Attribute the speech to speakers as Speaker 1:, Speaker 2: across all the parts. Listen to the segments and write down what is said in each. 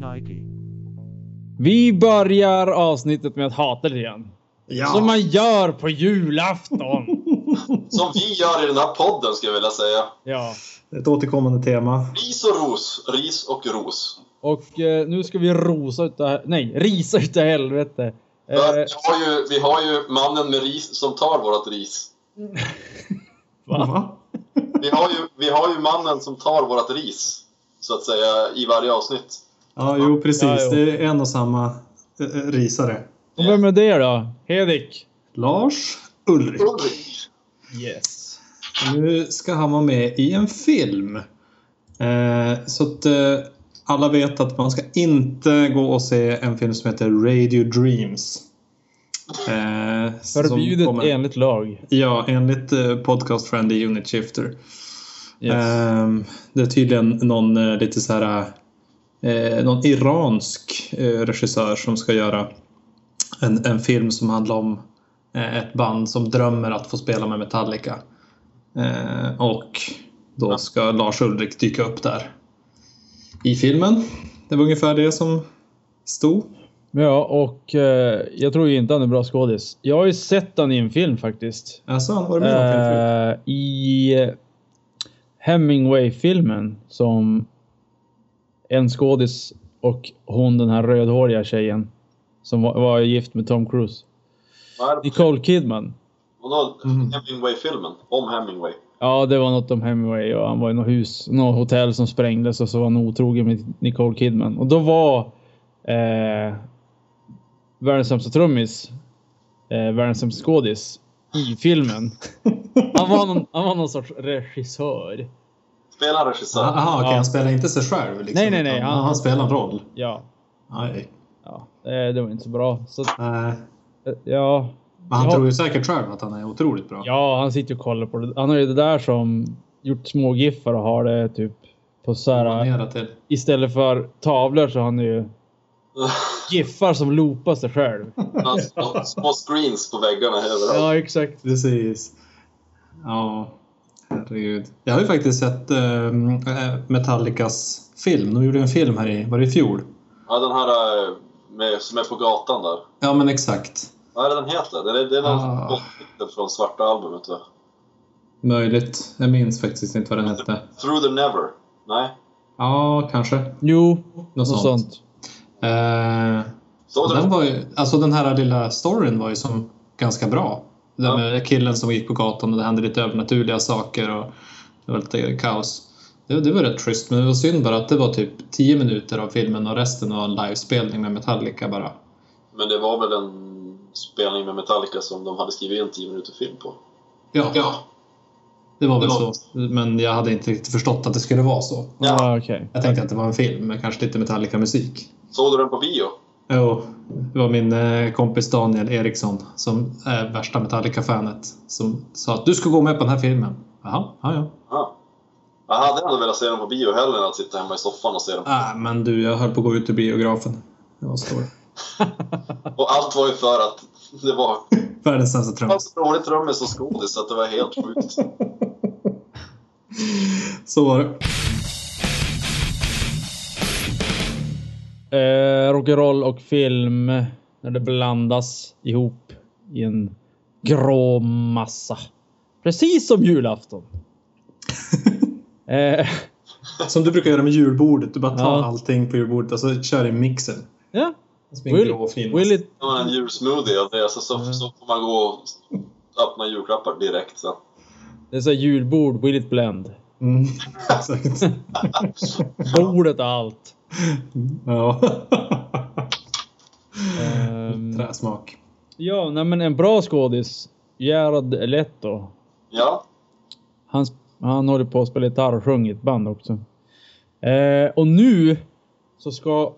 Speaker 1: Nike.
Speaker 2: Vi börjar avsnittet med att hata lite grann.
Speaker 3: Ja.
Speaker 2: Som man gör på julafton.
Speaker 4: Som vi gör i den här podden skulle jag vilja säga.
Speaker 2: ja.
Speaker 3: Ett återkommande tema.
Speaker 4: Ris och ros, ris och ros.
Speaker 2: Och eh, nu ska vi rosa utav... Nej, risa utav helvete.
Speaker 4: För
Speaker 2: Eh,
Speaker 4: vi, har ju, vi har ju mannen med ris som tar vårt ris.
Speaker 3: Va?
Speaker 4: Vi har ju, vi har ju mannen som tar vårt ris, så att säga, i varje avsnitt.
Speaker 3: Ja, jo precis.
Speaker 2: Ja, jo.
Speaker 3: Det är en och samma eh, eh, risare.
Speaker 2: och vem är det då? Hedik?
Speaker 3: Lars Ulrik.
Speaker 4: Ulrik.
Speaker 2: Yes.
Speaker 3: Nu ska han vara med i en film. Eh, så att eh, alla vet att man ska inte gå och se en film som heter Radio Dreams. Eh, som
Speaker 2: Förbjudet
Speaker 3: kommer-
Speaker 2: enligt lag.
Speaker 3: Ja, enligt eh, podcast Friendly Unit Shifter.
Speaker 2: Eh,
Speaker 3: Ehm, det är tydligen någon eh, lite så här eh, någon iransk eh, regissör som ska göra en, en film som handlar om eh, ett band som drömmer att få spela med Metallica. Eh, och då ska Lars Ulrik dyka upp där i filmen. Det var ungefär det som stod.
Speaker 2: Ja, och eh, jag tror ju inte han är bra skådis. Jag har ju sett han i en film faktiskt.
Speaker 3: Alltså, han var med i någon film förut?
Speaker 2: Eh, I eh, Hemingway-filmen som en skådis och hon den här rödhåriga tjejen som var, var gift med Tom Cruise. Nicole Kidman.
Speaker 4: Vadå?
Speaker 3: Mm.
Speaker 4: Hemingway-filmen? Om Hemingway.
Speaker 2: Ja, det var något om Hemingway och han var i något hus, något hotell som sprängdes och så var han otrogen med Nicole Kidman. Och då var eh, världens sämsta trummis, eh, världens sämsta skådis i filmen. Han var någon, han var någon sorts regissör.
Speaker 4: Spelar regissör.
Speaker 3: Jaha, Ah, okej,
Speaker 2: Ja.
Speaker 3: han spelar inte sig själv? Liksom,
Speaker 2: Nej, nej, nej,
Speaker 3: utan
Speaker 2: han-
Speaker 3: Han, han spelar en roll?
Speaker 2: Ja,
Speaker 3: Aj.
Speaker 2: ja eh, det var inte så bra. Så, att,
Speaker 3: Nej.
Speaker 2: eh, ja,
Speaker 3: Men han
Speaker 2: Ja.
Speaker 3: tror ju säkert själv att han är otroligt bra.
Speaker 2: ja, han sitter och kollar på det. Han har ju det där som gjort små giffar och har det typ på så här.
Speaker 3: Imponerad till.
Speaker 2: Istället för tavlor så har han ju giffar som loopar sig själv.
Speaker 4: Han har Små screens på väggarna överallt.
Speaker 2: Ja, exakt.
Speaker 3: Precis. Ja, herregud. Jag har ju faktiskt sett ehm, eh, Metallicas film. De gjorde en film här i, var det i fjol?
Speaker 4: Ja, den här eh, med, som är på gatan där.
Speaker 3: Ja, men exakt.
Speaker 4: Vad är det den heter? Det är, det är
Speaker 3: Ah.
Speaker 4: någon titel från svarta albumet va?
Speaker 3: Möjligt. Jag minns faktiskt inte vad den hette.
Speaker 4: Through the Never? Nej?
Speaker 3: Ja, kanske.
Speaker 2: Jo, något sånt.
Speaker 3: sånt. Eh,
Speaker 4: Så
Speaker 3: den
Speaker 4: den,
Speaker 3: var ju, alltså den här lilla storyn var ju som ganska bra. Det där
Speaker 4: Ja.
Speaker 3: med killen som gick på gatan och det hände lite övernaturliga saker och det var lite kaos. Det, det var rätt trist, men det var synd bara att det var typ 10 minuter av filmen och resten var en livespelning med Metallica bara.
Speaker 4: men det var väl en spelning med Metallica som de hade skrivit en 10 minuter film på.
Speaker 3: Ja, det var väl
Speaker 4: Det var-
Speaker 3: så. Men jag hade inte riktigt förstått att det skulle vara så.
Speaker 4: Ja.
Speaker 2: Ah, okej.
Speaker 3: Jag tänkte att det var en film med kanske lite Metallica-musik.
Speaker 4: Såg du den på bio?
Speaker 3: Jo, det var min eh, kompis Daniel Eriksson som är värsta Metallica-fanet som sa att du ska gå med på den här filmen. Jaha, ja, ja.
Speaker 4: Ja. Jag hade ändå velat se den på bio hellre än att sitta hemma i soffan och se den.
Speaker 3: Nej, Äh, men du, jag höll på att gå ut ur biografen. Det var stor.
Speaker 4: Och allt var ju för att det var
Speaker 3: Världens sämsta
Speaker 4: det
Speaker 3: trummis.
Speaker 4: fanns så dåligt trummis och skådis så att det var helt sjukt.
Speaker 3: Så var det.
Speaker 2: Eh, Rock'n'roll och film när det blandas ihop i en grå massa. Precis som julafton. eh,
Speaker 3: Som du brukar göra med julbordet. Du bara tar
Speaker 2: Ja.
Speaker 3: allting på julbordet och så kör i mixen.
Speaker 2: ja.
Speaker 3: Som en
Speaker 2: Will,
Speaker 3: grå fin.
Speaker 2: will it,
Speaker 4: Det var en julsmoothie och det, så, så, så får man gå och öppna julklappar direkt sen.
Speaker 2: det är så här julbord, will it blend?
Speaker 3: Mm, exakt.
Speaker 2: Bordet och allt.
Speaker 3: Ja.
Speaker 2: Ehm,
Speaker 3: Träsmak.
Speaker 2: ja, nej, men en bra skådis. Gerard Leto.
Speaker 4: Ja,
Speaker 2: Han, han håller på att spela gitarr och sjunger i ett band också. Eh, och nu så ska...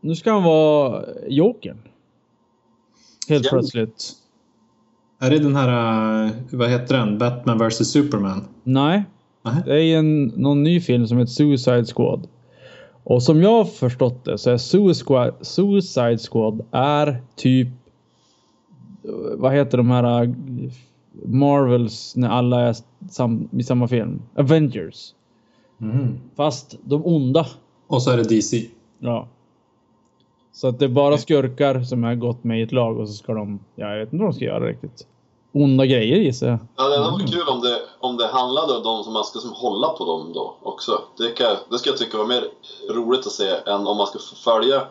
Speaker 2: Nu ska han vara Jokern. Helt
Speaker 4: Ja.
Speaker 2: plötsligt.
Speaker 3: Är det den här, eh, vad heter den? Batman vs Superman?
Speaker 2: Nej.
Speaker 3: Nej.
Speaker 2: Det är en, någon ny film som heter Suicide Squad. Och som jag har förstått det så är Suicide Squad, Suicide Squad är typ... eh, Vad heter de här... eh, Marvels när alla är sam, i samma film? Avengers.
Speaker 3: Mm.
Speaker 2: Fast de onda.
Speaker 3: Och så är det DC.
Speaker 2: Ja. Så att det är bara skurkar som har gått med i ett lag och så ska de, ja, jag vet inte vad de ska göra riktigt. Onda grejer gissar jag.
Speaker 4: Ja, det hade
Speaker 2: Mm.
Speaker 4: varit kul om det, om det handlade om de som man ska som hålla på dem då också. Det, kan, jag- det ska jag tycka var mer roligt att se än om man ska få följa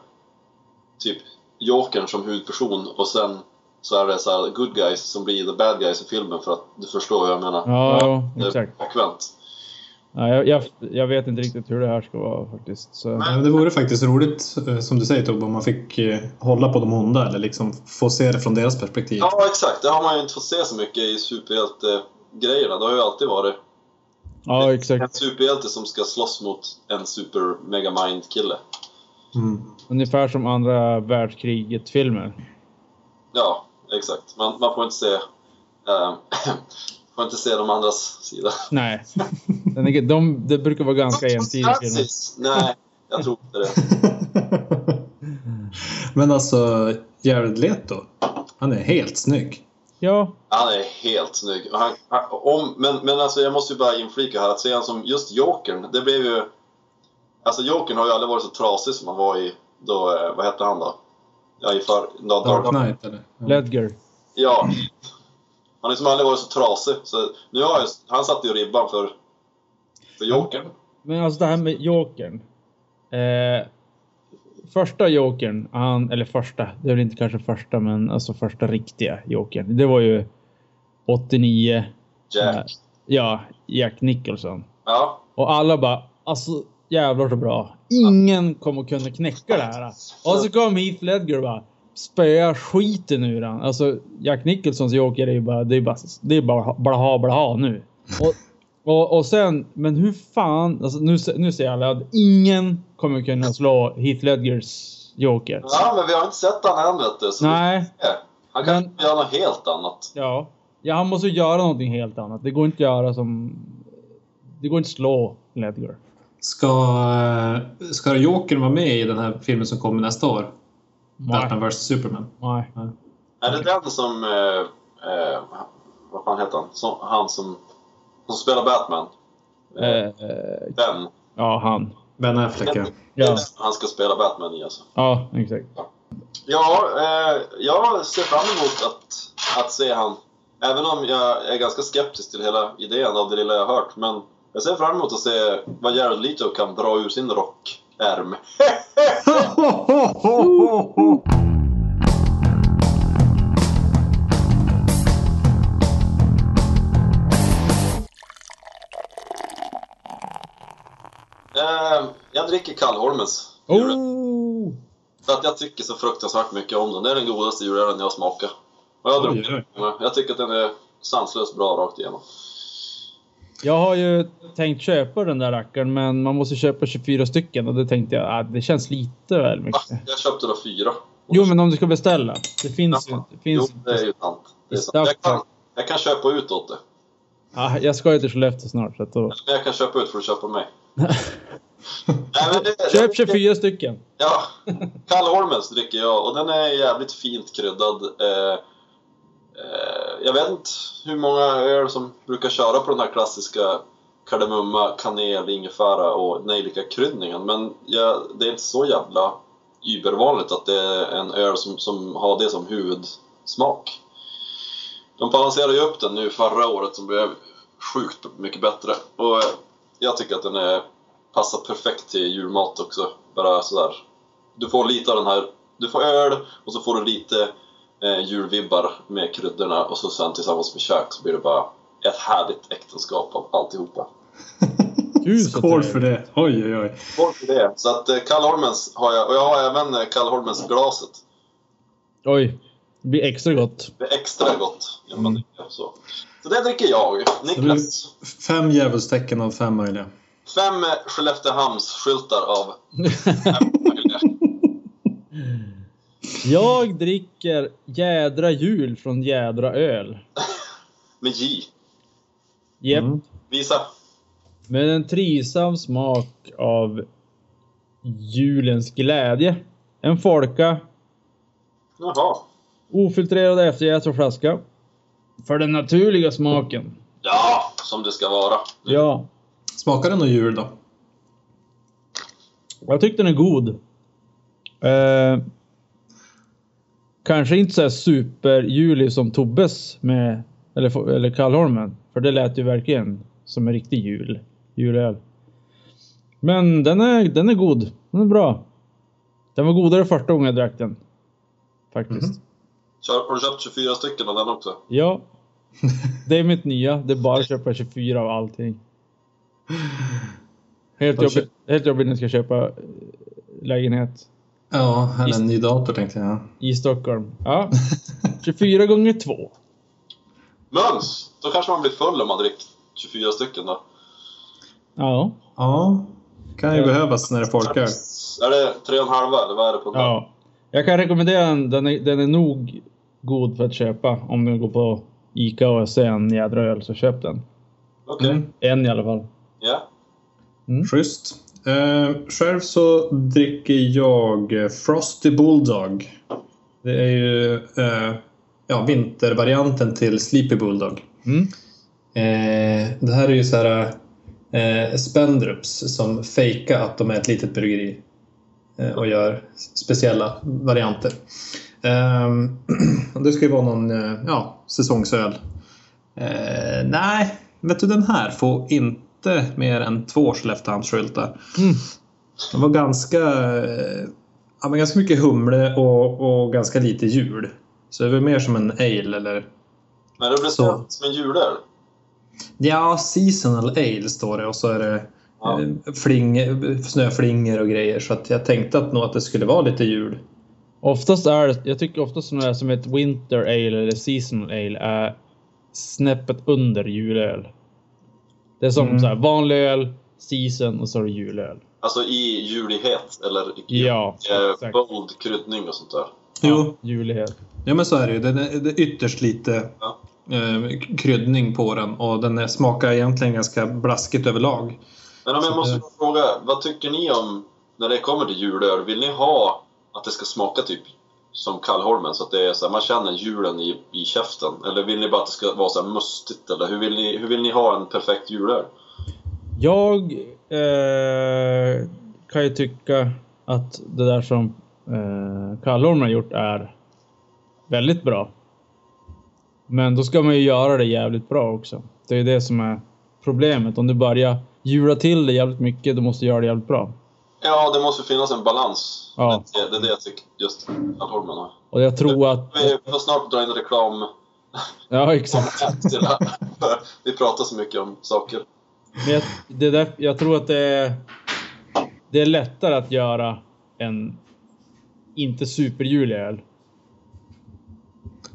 Speaker 4: typ Jokern som huvudperson och sen så är det så här good guys som blir the bad guys i filmen för att du förstår vad jag menar.
Speaker 2: Ja, jo,
Speaker 4: Det är
Speaker 2: exakt.
Speaker 4: bakvänt.
Speaker 2: Ja, jag, jag, jag vet inte riktigt hur det här ska vara faktiskt. Så,
Speaker 3: Nej, men det vore faktiskt roligt, eh, som du säger Tobbe, om man fick eh, hålla på de onda eller liksom få se det från deras perspektiv.
Speaker 4: Ja, exakt. Det har man ju inte fått se så mycket i superhjältegrejerna. Det har ju alltid varit
Speaker 2: ja, exakt.
Speaker 4: en superhjälte som ska slåss mot en super megamind kille.
Speaker 3: Mm.
Speaker 2: Ungefär som andra världskriget-filmer.
Speaker 4: Ja, exakt. Man, man får inte se... ehm, får inte se de andras sida.
Speaker 2: Nej. Den är, de, det brukar vara ganska jämntidigt. filmer.
Speaker 4: Precis. Nej, jag tror inte det.
Speaker 3: men alltså, Jared Leto, han är helt snygg.
Speaker 2: Ja,
Speaker 4: Han är helt snygg. Och Han, han, om, men, men alltså jag måste ju bara inflika här att se han som just Jokern, det blev ju... Alltså Jokern har ju aldrig varit så trasig som han var i... Då, eh, vad hette han då? Ja, i för, då,
Speaker 3: Dark
Speaker 4: Dark-
Speaker 3: Knight eller? Ja.
Speaker 2: Ledger.
Speaker 4: Ja. Han har liksom aldrig varit så trasig. Så nu har jag, han satte ju ribban för, för Jokern.
Speaker 2: Men alltså det här med Jokern. Eh, första Jokern, han, eller första, det är väl inte kanske första, men alltså första riktiga Jokern. Det var ju 89,
Speaker 4: Jack.
Speaker 2: ja, Jack Nicholson.
Speaker 4: Ja.
Speaker 2: Och alla bara, alltså jävlar så bra. Ingen kommer kunna knäcka det här. Och så kom Heath Ledger och bara spöa skiten ur han. Alltså Jack Nicholsons Joker är ju bara, det är bara, det är bara blaha blaha nu. Och, och, och sen, men hur fan, alltså nu, se- nu säger alla att ingen kommer kunna slå Heath Ledgers Joker.
Speaker 4: Ja, men vi har inte sett han än vet du. Så
Speaker 2: Nej,
Speaker 4: Vi får se. han kanske
Speaker 2: Men-
Speaker 4: gör något helt annat.
Speaker 2: ja. Ja, han måste ju göra någonting helt annat. Det går inte att göra som... Det går inte att slå Ledger.
Speaker 3: Ska, eh, ska Jokern vara med i den här filmen som kommer nästa år?
Speaker 2: Nej.
Speaker 3: Batman vs Superman?
Speaker 2: Nej.
Speaker 4: Är det den som... Eh, eh, vad fan heter han? Som, han som, som spelar Batman.
Speaker 2: Eh, eh,
Speaker 4: Den.
Speaker 2: Ja, han.
Speaker 3: Ben Affleck ja.
Speaker 4: Det är
Speaker 2: Ja,
Speaker 4: den han ska spela Batman i alltså.
Speaker 2: ja exakt.
Speaker 4: Ja, eh, jag ser fram emot att, att se han. Även om jag är ganska skeptisk till hela idén av det lilla jag har hört. Men jag ser fram emot att se vad Jared Leto kan dra ur sin rockärm.
Speaker 3: Oh,
Speaker 4: Eh, jag dricker Kallholmens. jul.
Speaker 2: Oh!
Speaker 4: För att jag tycker så fruktansvärt mycket om den. Det är den godaste julölen jag har smakat. Och jag har druckit
Speaker 3: Oj,
Speaker 4: den. Jag tycker att den är sanslöst bra rakt igenom.
Speaker 2: Jag har ju tänkt köpa den där rackaren, men man måste köpa 24 stycken och det tänkte jag, ah, det känns lite väl
Speaker 4: Va?
Speaker 2: mycket.
Speaker 4: Jag köpte då fyra.
Speaker 2: Jo, men om du ska beställa. Det finns ju. Det
Speaker 4: Jo,
Speaker 2: finns
Speaker 4: det är
Speaker 2: ju.
Speaker 4: ju sant. Det är sant.
Speaker 2: Staff-
Speaker 4: Jag, kan, jag kan köpa ut åt det.
Speaker 2: Ah, jag ska ju till Skellefteå snart, så att då...
Speaker 4: Men jag kan köpa ut för att köpa mig. Nej, men det,
Speaker 2: Köp 24 stycken!
Speaker 4: Ja, Kallholmens dricker jag och den är jävligt fint kryddad. Eh, eh, jag vet inte hur många öl som brukar köra på den här klassiska kardemumma, kanel, ingefära och nejlikakryddningen men jag, det är inte så jävla übervanligt att det är en öl som, som har det som huvudsmak. De balanserade ju upp den nu förra året som blev sjukt mycket bättre och eh, jag tycker att den är passar perfekt till julmat också. Bara sådär. Du får lite av den här, du får öl och så får du lite eh, julvibbar med kryddorna och så sen tillsammans med kök så blir det bara ett härligt äktenskap av alltihopa.
Speaker 2: Gud, så
Speaker 3: Skål
Speaker 2: trevligt.
Speaker 3: för det! Oj, oj, oj.
Speaker 4: Skål för det! Så att eh, Kallholmens har jag, och jag har även eh, Kallholmens-glaset.
Speaker 2: Oj. Det blir extra gott.
Speaker 4: Det är extra gott genom att dricka så. Så det dricker jag. Niklas.
Speaker 3: Fem djävulstecken av fem möjliga.
Speaker 4: Fem eh, Skelleftehamns-skyltar av...
Speaker 2: Jag dricker Jädra jul från Jädra öl.
Speaker 4: med J.
Speaker 2: Jep.
Speaker 3: Mm.
Speaker 4: Visa.
Speaker 2: Med en trivsam smak av julens glädje. En folka,
Speaker 4: Jaha.
Speaker 2: ofiltrerad efterjäst och flaska. För den naturliga smaken.
Speaker 4: Ja, som det ska vara.
Speaker 2: Ja,
Speaker 3: Smakar den någon jul då?
Speaker 2: jag tyckte den är god. Eh, kanske inte så här superjulig som Tobbes med, eller, eller Kallholmen. För det lät ju verkligen som en riktig jul. Julöl. Men den är, den är god. Den är bra. Den var godare första gången jag drack den. Faktiskt.
Speaker 4: Kör, har du köpt 24 stycken av den också?
Speaker 2: Ja. Det är mitt nya. Det är bara att köpa 24 av allting. Helt
Speaker 3: Vad
Speaker 2: jobbigt, helt jobbigt när jag ska köpa eh, lägenhet
Speaker 3: Ja, eller
Speaker 2: Visst.
Speaker 3: en ny dator tänkte jag.
Speaker 2: i Stockholm. Ja. 24 gånger 2.
Speaker 4: Möns! Då kanske man blir full om man dricker 24 stycken då.
Speaker 2: Ja.
Speaker 3: Ja, kan ju
Speaker 2: Ja.
Speaker 3: behövas när det folkar.
Speaker 4: Är det tre och en halva eller vad är det på den?
Speaker 2: ja. Jag kan rekommendera den. Den är, den är nog god för att köpa. Om du går på Ica och ser en jädra öl så köp den.
Speaker 4: Okej.
Speaker 3: Mm.
Speaker 2: En i alla fall.
Speaker 4: Ja.
Speaker 3: Schysst. Eh, själv så dricker jag Frosty Bulldog. Det är ju eh, ja, vintervarianten till Sleepy Bulldog.
Speaker 2: Mm.
Speaker 3: Eh, det här är ju så här eh, Spendrups som fejkar att de är ett litet bryggeri eh, och gör speciella varianter. Ehm, det ska ju vara någon eh, ja, säsongsöl. Eh, nej, vet du den här får inte mer än två Skelleftehamnsskyltar.
Speaker 2: Mm.
Speaker 3: Den var ganska, eh, ja, men ganska mycket humle och, och ganska lite jul. Så det är väl mer som en ale eller
Speaker 4: Men det
Speaker 3: Så.
Speaker 4: blir så. som en julöl.
Speaker 3: Ja, seasonal ale står det och så är det
Speaker 4: Ja.
Speaker 3: eh, fling, snöflingor och grejer. Så att jag tänkte att nog att det skulle vara lite jul.
Speaker 2: Oftast är det- jag tycker oftast sådana där som ett Winter Ale eller Seasonal Ale är snäppet under julöl. Det är som
Speaker 3: Mm.
Speaker 2: så här, vanlig öl, season och så har du julöl.
Speaker 4: Alltså i julighet eller i
Speaker 2: Ja,
Speaker 4: eh,
Speaker 2: exakt.
Speaker 4: bold kryddning och sånt där.
Speaker 3: Jo,
Speaker 2: Julighet.
Speaker 3: ja, men så är det ju. Det är, det är ytterst lite
Speaker 4: Ja.
Speaker 3: eh, kryddning på den och den är, smakar egentligen ganska blaskigt överlag.
Speaker 4: Men om jag
Speaker 3: Så
Speaker 4: måste
Speaker 3: det-
Speaker 4: då fråga, vad tycker ni om när det kommer till julöl? Vill ni ha att det ska smaka typ som Kallholmen, så att det är så här, man känner julen i, i käften? Eller vill ni bara att det ska vara så här mustigt? Eller hur vill ni, hur vill ni ha en perfekt julöl?
Speaker 2: Jag eh, kan ju tycka att det där som eh, Kallorm har gjort är väldigt bra. Men då ska man ju göra det jävligt bra också. Det är ju det som är problemet. Om du börjar jula till det jävligt mycket, då måste du göra det jävligt bra.
Speaker 4: Ja, det måste finnas en balans.
Speaker 2: Ja.
Speaker 4: Det, det är det jag tycker just Kallholmen har.
Speaker 2: Och jag tror att...
Speaker 4: Vi får snart dra in reklam.
Speaker 2: Ja, exakt.
Speaker 4: Vi pratar så mycket om saker.
Speaker 2: Men jag, det där, jag tror att det är, det är lättare att göra en inte superjulig öl.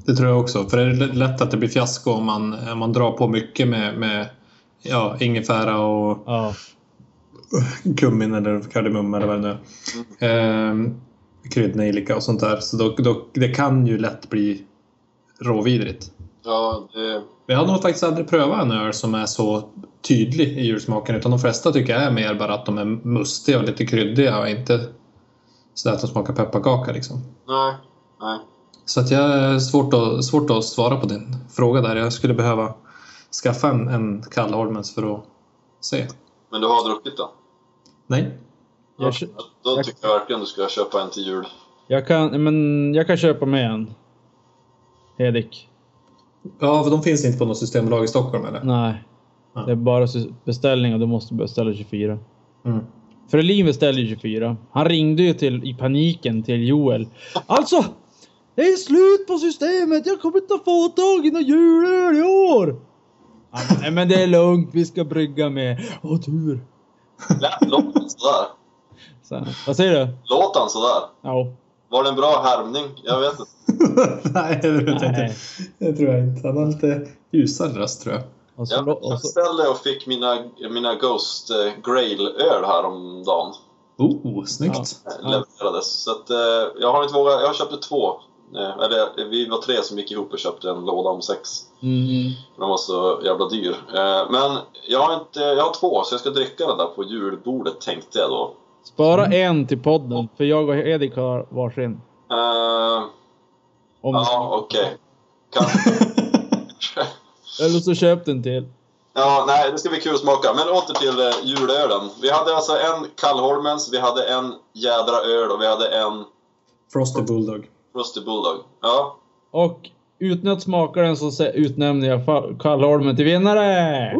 Speaker 3: Det tror jag också. För det är lätt att det blir fiasko om man, om man drar på mycket med, med ja, ingefära och
Speaker 2: Ja.
Speaker 3: kummin eller kardemumma eller vad det nu är. Ehm, kryddnejlika och sånt där. Så då, då, det kan ju lätt bli råvidrigt.
Speaker 4: Ja, det,
Speaker 3: Men jag har nog faktiskt aldrig prövat en öl som är så tydlig i julsmaken. Utan de flesta tycker jag är mer bara att de är mustiga och lite kryddiga och inte sådär att de smakar pepparkaka liksom.
Speaker 4: nej, nej.
Speaker 3: Så att jag är svårt att, svårt att svara på din fråga där. Jag skulle behöva skaffa en, en Kallholmens för att se.
Speaker 4: Men du har druckit den?
Speaker 3: Nej.
Speaker 2: Jag, kö-
Speaker 4: Då
Speaker 2: Jag-
Speaker 4: tycker jag verkligen du ska köpa en till jul.
Speaker 2: jag, kan, men jag kan köpa med en. Hedik.
Speaker 3: Ja, för de finns inte på något systembolag i Stockholm eller?
Speaker 2: Nej.
Speaker 3: Ja.
Speaker 2: Det är bara sy- beställning och du måste beställa 24.
Speaker 3: Mm.
Speaker 2: Frölin beställde ju 24. Han ringde ju till, i paniken till Joel. Alltså! Det är slut på systemet! Jag kommer inte att få tag i någon julöl i år! Han bara, Nej men det är lugnt, vi ska brygga med. Åh tur!
Speaker 4: Lät- Låt han sådär.
Speaker 2: Så, här, vad säger du?
Speaker 4: Låt han sådär.
Speaker 2: Ja.
Speaker 4: Var det en bra härmning? Jag vet inte.
Speaker 3: Nej, det vet jag
Speaker 2: Nej.
Speaker 3: inte. Det tror jag inte. Han har lite ljusare röst tror jag.
Speaker 2: Och så,
Speaker 4: Jag
Speaker 2: lo- och
Speaker 4: jag
Speaker 2: så,
Speaker 4: beställde och fick mina, mina Ghost eh, Grail-öl häromdagen.
Speaker 3: Oh, snyggt!
Speaker 4: Eh,
Speaker 2: Ja.
Speaker 4: Levererades. Så att, eh, jag har inte vågat. Jag köpte två. Eh, Eller vi var tre som gick ihop och köpte en låda om sex.
Speaker 2: mm,
Speaker 4: Den var så jävla dyr. Eh, Men jag har, inte, jag har två, så jag ska dricka den där på julbordet tänkte jag då.
Speaker 2: spara
Speaker 3: Mm.
Speaker 2: en till podden, för jag och Edik har varsin.
Speaker 4: Eh,
Speaker 2: Om,
Speaker 4: Ja, okej. Kanske.
Speaker 2: Eller så köp den till.
Speaker 4: Ja, nej, det ska bli kul att smaka. Men åter till eh, julölen. Vi hade alltså en Kallholmens, vi hade en Jädra öl och vi hade en
Speaker 3: Frosty Bulldog.
Speaker 4: Frosty Bulldog. Ja.
Speaker 2: Och utan att smaka den så sä- utnämner jag Fa- Karlholmen till vinnare!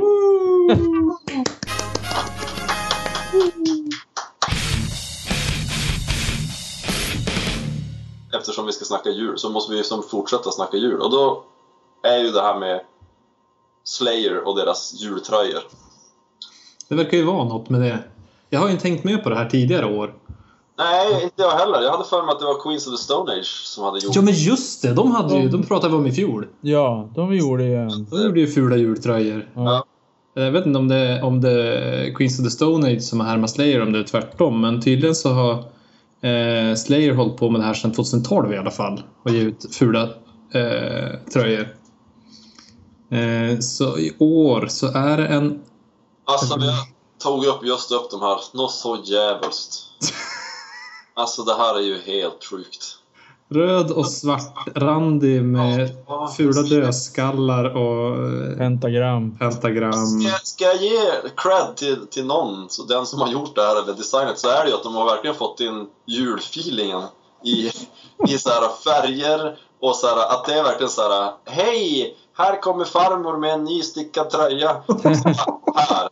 Speaker 4: Eftersom vi ska snacka djur så måste vi som fortsätta snacka djur. Och då är ju det här med Slayer och deras djurtröjor.
Speaker 3: Det verkar ju vara något med det. Jag har ju inte tänkt med på det här tidigare år.
Speaker 4: Nej, inte jag heller. Jag hade för mig att det var Queens of the Stone Age som hade gjort
Speaker 3: Ja men just det, de, hade ju, de pratade vi om i fjol.
Speaker 2: Ja, de gjorde ju en...
Speaker 3: De gjorde ju fula jultröjor. Eh,
Speaker 2: Ja.
Speaker 3: Jag vet inte om det, om det Queens of the Stone Age som har härmat Slayer, om det är tvärtom. Men tydligen så har eh, Slayer hållit på med det här sedan 2012 i alla fall. Och gett ut fula eh, tröjor. Eh, så i år så är det en...
Speaker 4: Alltså jag tog upp just upp de här, något så jävligt. Alltså det här är ju helt sjukt.
Speaker 3: Röd och svart randig med fula dödskallar och eh,
Speaker 2: Pentagram.
Speaker 3: pentagram.
Speaker 4: Alltså, Ska, ska jag ge cred till, till någon, så den som har gjort det här eller designat, så är det ju att de har verkligen fått in julfeelingen i, i så här färger och så här, att det är verkligen så här Hej! Här kommer farmor med en ny stickad tröja. Och så bara, här.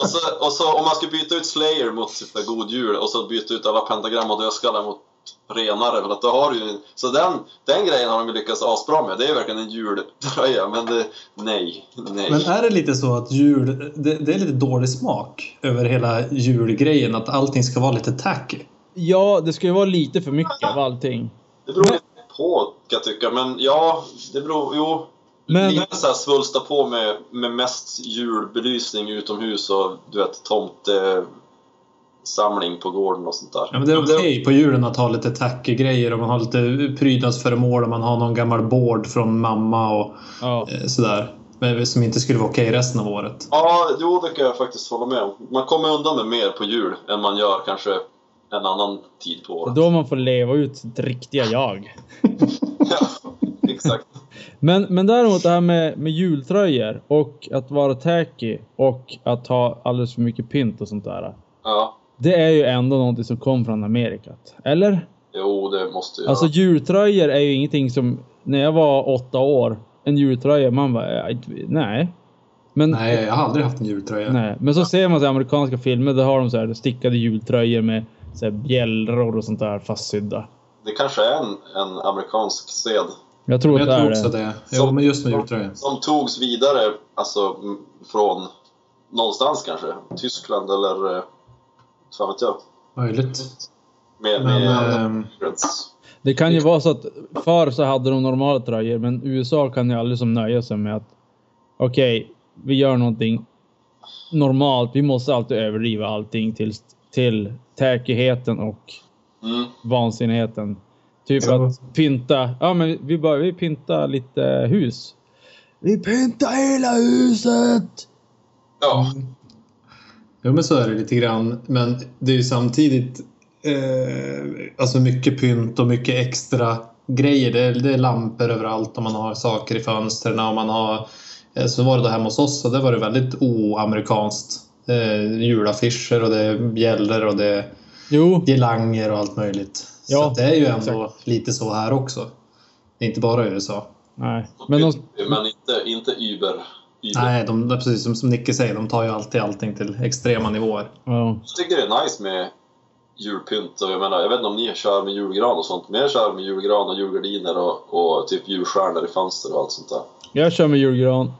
Speaker 4: Och så, och så om man skulle byta ut Slayer mot typ där God Jul och så byta ut alla pentagram och dödskallar mot renare. För att då har du ju, en- så den, den grejen har de ju lyckats asbra med. Det är ju verkligen en jultröja. Men det, nej, nej.
Speaker 3: Men är det lite så att jul, det, det är lite dålig smak över hela julgrejen, att allting ska vara lite tacky?
Speaker 2: Ja, det ska ju vara lite för mycket av allting.
Speaker 4: Det beror lite på kan jag tycka, men ja, det beror... Jo.
Speaker 2: Men-
Speaker 4: Lite såhär svulsta på med, med mest julbelysning utomhus och du vet tomte samling på gården och sånt där.
Speaker 3: Ja, men det är okej på julen att ha lite tacky-grejer och man har lite prydnadsföremål och man har någon gammal board från mamma och
Speaker 2: Ja.
Speaker 3: eh, sådär. Men som inte skulle vara okej resten av året.
Speaker 4: Ja, jo det kan jag faktiskt hålla med om. Man kommer undan med mer på jul än man gör kanske en annan tid på
Speaker 2: Det är
Speaker 4: året.
Speaker 2: då man får leva ut sitt riktiga jag.
Speaker 4: Ja, exakt.
Speaker 2: Men, men däremot det här med, med jultröjor och att vara tacky och att ha alldeles för mycket pynt och sånt där.
Speaker 4: Ja,
Speaker 2: Det är ju ändå någonting som kom från Amerika. Eller?
Speaker 4: jo det måste jag.
Speaker 2: Alltså jultröjor är ju ingenting som... När jag var åtta år, en jultröja, man bara... "Ja, Nej. Men,
Speaker 3: Nej, jag har aldrig haft en jultröja.
Speaker 2: nej. Men så ser man så här amerikanska filmer, där har de så här stickade jultröjor med så här bjällror och sånt där fastsydda.
Speaker 4: Det kanske är en, en amerikansk sed
Speaker 2: Jag tror att
Speaker 3: Jag
Speaker 2: det
Speaker 3: tror
Speaker 2: är
Speaker 3: också
Speaker 2: det.
Speaker 3: det. Jo, men just med jultröja.
Speaker 4: Som togs vidare alltså, m- från någonstans kanske. Tyskland eller... eh, Fan vet jag.
Speaker 3: Möjligt.
Speaker 4: Med,
Speaker 3: Men,
Speaker 4: med
Speaker 3: ehm,
Speaker 2: Det kan ju vara så att förr så hade de normala tröjor, men USA kan ju aldrig som nöja sig med att okej, vi gör någonting normalt. Vi måste alltid överdriva allting till, till täkigheten och
Speaker 4: mm.
Speaker 2: vansinnigheten. Typ
Speaker 3: Ja.
Speaker 2: att pynta. Ja, men vi bör vi pynta lite hus. Vi pyntar hela huset!
Speaker 4: Ja,
Speaker 3: Jo, men så är det lite grann. Men det är ju samtidigt eh, alltså mycket pynt och mycket extra grejer. Det är, det är lampor överallt och man har saker i fönstren och man har... Eh, så var det då hemma hos oss och det var det väldigt oamerikanskt. Eh, julaffischer och det är bjällror och det är
Speaker 2: Jo,
Speaker 3: girlanger och allt möjligt.
Speaker 2: Ja,
Speaker 3: så att det är ju ändå lite så här också. Det är inte bara i USA.
Speaker 2: nej. Men de,
Speaker 4: men inte, inte Uber. Uber.
Speaker 3: Nej, de, precis som, som Nicke säger, de tar ju alltid allting till extrema nivåer.
Speaker 2: ja.
Speaker 4: Jag tycker det är nice med julpynt och jag menar, jag vet inte om ni kör med julgran och sånt, men jag kör med julgran och julgardiner och, och typ julstjärnor i fönster och allt sånt där.
Speaker 2: Jag kör med julgran.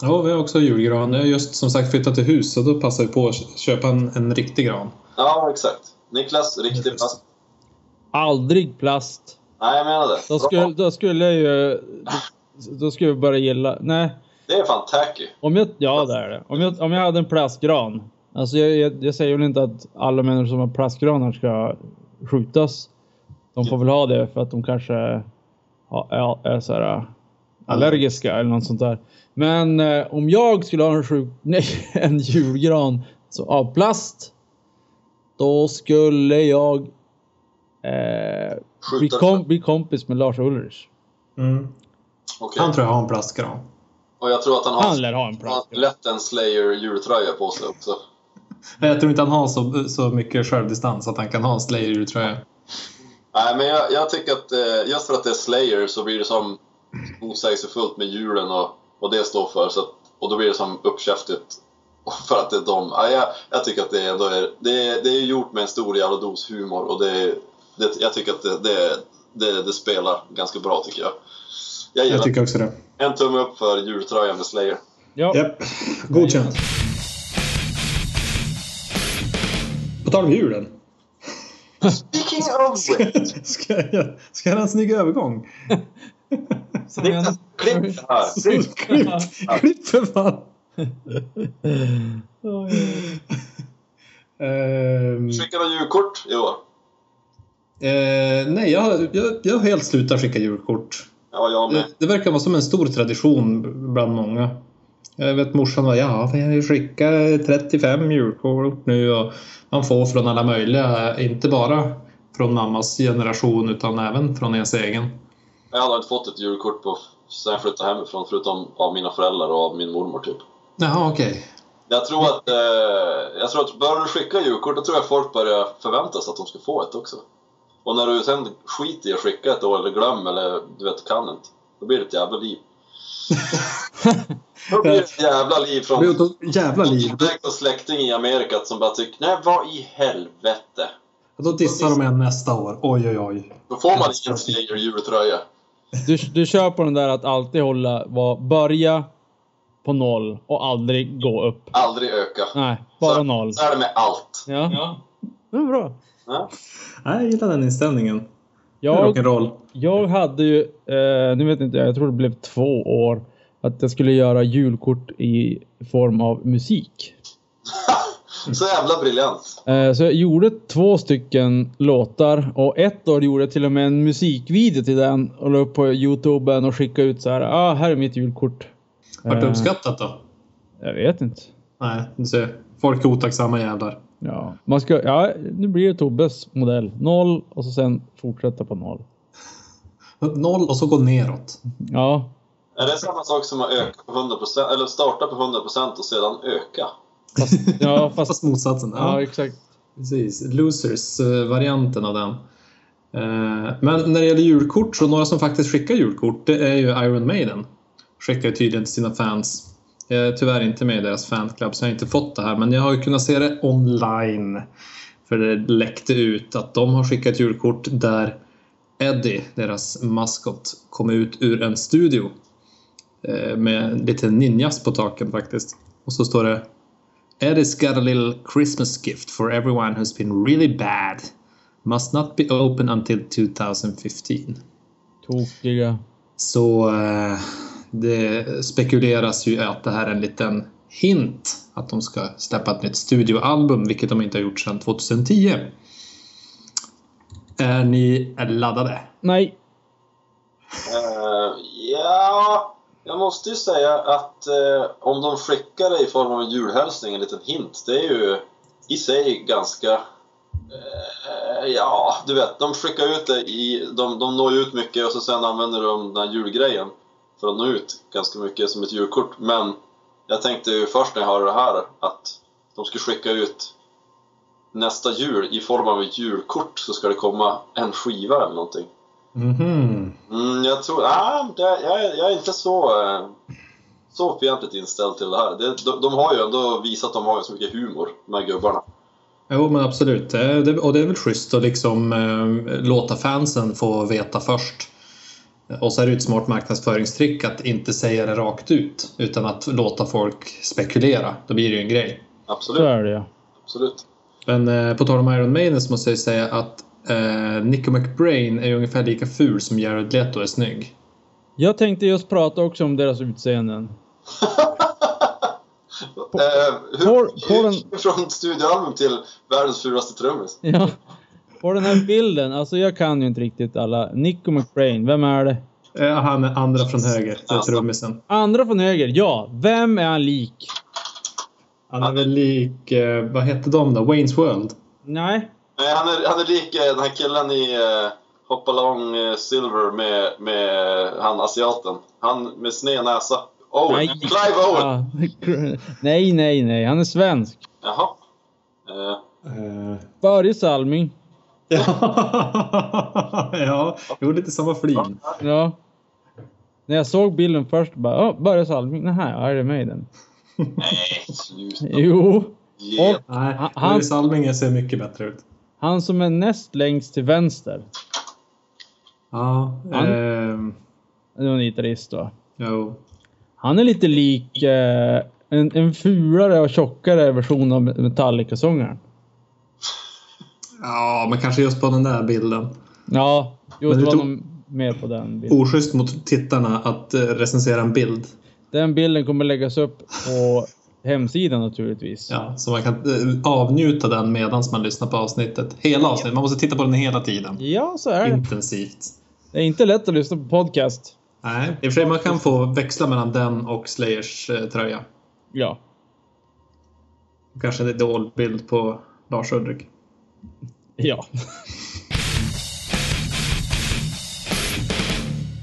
Speaker 3: Ja, vi har också julgran. Jag har just som sagt flyttat till hus så då passar vi på att köpa en, en riktig gran.
Speaker 4: Ja, exakt. Niklas, riktig plast.
Speaker 2: Aldrig plast.
Speaker 4: Nej, jag menar det.
Speaker 2: Då skulle, då skulle jag ju... Då skulle jag börja gilla... Nej.
Speaker 4: Det är fan tacky.
Speaker 2: Om jag, ja, det är det. Om jag, om jag hade en plastgran. Alltså jag, jag, jag säger väl inte att alla människor som har plastgranar ska skjutas. De får väl ha det för att de kanske har- är, är så här, äh, allergiska eller något sånt där. Men eh, om jag skulle ha en, sjuk, nej, en julgran så, av plast. Då skulle jag eh, bli,
Speaker 4: Skjuta
Speaker 2: kom, bli kompis med Lars Ulrich.
Speaker 3: Mm.
Speaker 4: Okej.
Speaker 3: Han tror jag har en plastgran.
Speaker 4: Och jag tror att han har...
Speaker 2: Han lär ha en
Speaker 4: Han har
Speaker 2: plastgran.
Speaker 4: lätt en Slayer jultröja på sig också.
Speaker 3: Nej, Jag tror inte han har så, så mycket självdistans att han kan ha en Slayer tror jag.
Speaker 4: Nej, men jag, jag tycker att eh, just för att det är Slayer så blir det som motsägelsefullt med julen och vad det står för. Så att, och då blir det som uppkäftigt för att det är de. Ja, jag, jag tycker att det ändå är, det, är- det är gjort med en stor jävla dos humor och det, det, jag tycker att det, det, det, det spelar ganska bra tycker jag. Jag gillar
Speaker 3: Jag tycker också det.
Speaker 4: en tumme upp för jultröjan med Slayer.
Speaker 2: Ja.
Speaker 3: Japp. Godkänt. På tal om julen.
Speaker 4: Speaking of which,
Speaker 3: Ska jag, ska jag ha en snygg övergång?
Speaker 4: det är klipp det här! Klipp.
Speaker 3: Klipp, klipp för fan!
Speaker 2: Oj.
Speaker 3: Ehm,
Speaker 4: Skickar du julkort i år?
Speaker 3: eh, nej, jag, jag, jag har helt slutat skicka julkort.
Speaker 4: Ja, jag
Speaker 3: Det,
Speaker 4: med.
Speaker 3: det verkar vara som en stor tradition bland många. Jag vet morsan var ja, vi har ju skickat 35 julkort nu och man får från alla möjliga, inte bara från mammas generation utan även från ens egen.
Speaker 4: Jag hade inte fått ett julkort på sen jag flyttade hemifrån förutom av mina föräldrar och av min mormor typ.
Speaker 3: Jaha, okej.
Speaker 4: Jag tror att, eh, jag tror att börjar du skicka julkort, då tror jag folk börjar förvänta sig att de ska få ett också. Och när du sen skiter i att skicka ett år, eller glömmer, eller du vet, kan inte. Då blir det ett jävla liv. då blir det ett jävla liv
Speaker 3: Det blir
Speaker 4: från
Speaker 3: åt ett jävla liv.
Speaker 4: en släkting i Amerika som bara tycker nej vad i helvete.
Speaker 3: Då dissar de en nästa år. Oj, oj, oj.
Speaker 4: Då får man ingen Slayer jultröja.
Speaker 2: Du, du kör på den där att alltid hålla, var, börja på noll och aldrig gå upp.
Speaker 4: Aldrig öka.
Speaker 2: Nej, bara
Speaker 4: Så-
Speaker 2: noll.
Speaker 4: Så är det med allt.
Speaker 2: Ja, det var bra.
Speaker 3: Nej, jag gillar den inställningen.
Speaker 2: Jag,
Speaker 3: Rock'n'roll.
Speaker 2: jag hade ju, eh, nu vet inte jag, jag tror det blev två år, att jag skulle göra julkort i form av musik.
Speaker 4: Så jävla briljant.
Speaker 2: Eh, Så jag gjorde två stycken låtar och ett år gjorde jag till och med en musikvideo till den och la upp på Youtuben och skickade ut så här. Ah, här är mitt julkort.
Speaker 3: Vart det
Speaker 2: Eh,
Speaker 3: uppskattat då?
Speaker 2: Jag vet inte.
Speaker 3: Nej, du ser. Folk är otacksamma jävlar.
Speaker 2: Ja, man ska, ja, nu blir det Tobbes modell. Noll och så sen fortsätta på noll.
Speaker 3: Noll och så gå neråt.
Speaker 2: Ja,
Speaker 4: Är det samma sak som att öka på 100%, eller starta på 100% och sedan öka?
Speaker 2: fast, ja, fast,
Speaker 3: Fast motsatsen.
Speaker 2: ja, exakt.
Speaker 3: Precis, Losers-varianten av den. Eh, Men när det gäller julkort så några som faktiskt skickar julkort det är ju Iron Maiden. Skickar ju tydligen till sina fans. Jag är tyvärr inte med i deras fanclub så jag har inte fått det här men jag har ju kunnat se det online. För det läckte ut att de har skickat julkort där Eddie, deras maskot, kom ut ur en studio. eh, Med lite ninjas på taken faktiskt. Och så står det Eddie's got a little Christmas gift for everyone who's been really bad. Must not be open until 2015.
Speaker 2: Tokiga.
Speaker 3: Så eh, det spekuleras ju att det här är en liten hint att de ska släppa ett nytt studioalbum, vilket de inte har gjort sedan 2010. Är ni laddade?
Speaker 2: Nej,
Speaker 4: Eh, ja, jag måste ju säga att eh, om de skickar det i form av en julhälsning, en liten hint, det är ju i sig ganska... eh, ja, du vet, de skickar ut det i... De, de når ju ut mycket och så sen använder de den här julgrejen för att nå ut ganska mycket som ett julkort. Men jag tänkte ju först när jag hörde det här att de ska skicka ut nästa jul i form av ett julkort så ska det komma en skiva eller någonting.
Speaker 3: Mhm.
Speaker 4: Mm, jag tror... Ah, det, jag, är- jag är inte så, eh, så fientligt inställd till det här. Det, de, de har ju ändå visat att de har så mycket humor, de här gubbarna.
Speaker 3: Jo men absolut, det, det, och det är väl schysst att liksom eh, låta fansen få veta först. Och så är det ju ett smart marknadsföringstrick att inte säga det rakt ut utan att låta folk spekulera. Då blir det ju en grej.
Speaker 2: så
Speaker 4: Absolut.
Speaker 2: är det ja.
Speaker 4: absolut.
Speaker 3: Men eh, på tal om Iron Maiden så måste jag ju säga att eh, Nico McBrain är ju ungefär lika ful som Jared Leto är snygg.
Speaker 2: Jag tänkte just prata också om deras utseenden.
Speaker 4: Eh, hur,
Speaker 2: På- på den-
Speaker 4: hur, från studioalbum till världens fulaste trummis.
Speaker 2: Ja. På den här bilden, alltså jag kan ju inte riktigt alla. Nico McBrain, vem är det?
Speaker 3: Eh, han är andra från höger, det är
Speaker 4: Alltså.
Speaker 3: trummisen.
Speaker 2: Andra från höger, ja. Vem är han lik?
Speaker 3: Han är väl lik, eh, vad hette de då? Wayne's World?
Speaker 2: Nej.
Speaker 4: Nej, han, är, han är lik eh, den här killen i eh, Hop Along eh, Silver med, med eh, han asiaten. Han med sned näsa. Owen.
Speaker 2: Nej.
Speaker 4: Clive Owen!
Speaker 2: Ja. Nej, nej, nej. Han är svensk.
Speaker 4: Jaha. Eh,
Speaker 3: Eh,
Speaker 2: Börje Salming.
Speaker 3: Ja, ja. Jo, lite samma flin.
Speaker 2: Ja. När jag såg bilden först bara, oh, Börje Salming, nähä, Iron Maiden.
Speaker 4: Nej, sluta.
Speaker 2: Jo,
Speaker 4: Ge-
Speaker 3: Nej,
Speaker 2: Han- han-
Speaker 3: Börje Salmingen ser mycket bättre ut.
Speaker 2: han som är näst längst till vänster.
Speaker 3: Ja,
Speaker 2: Han-
Speaker 3: ehm,
Speaker 2: Det var en gitarrist då.
Speaker 3: jo.
Speaker 2: Han är lite lik eh, en, en fulare och tjockare version av Metallica-sångaren.
Speaker 3: Ja, men kanske just på den där bilden.
Speaker 2: Ja, jo,
Speaker 3: Men
Speaker 2: det
Speaker 3: det
Speaker 2: var
Speaker 3: tog-
Speaker 2: nog mer på den bilden.
Speaker 3: Oschysst mot tittarna att eh, recensera en bild.
Speaker 2: Den bilden kommer läggas upp på hemsidan naturligtvis.
Speaker 3: Ja, så man kan eh, avnjuta den medan man lyssnar på avsnittet. Hela avsnittet. Man måste titta på den hela tiden.
Speaker 2: Ja, så är det.
Speaker 3: Intensivt.
Speaker 2: Det är inte lätt att lyssna på podcast.
Speaker 3: Nej, i och för sig man kan få växla mellan den och Slayers eh, tröja.
Speaker 2: Ja.
Speaker 3: Kanske en dold bild på Lars Ulrik.
Speaker 2: Ja.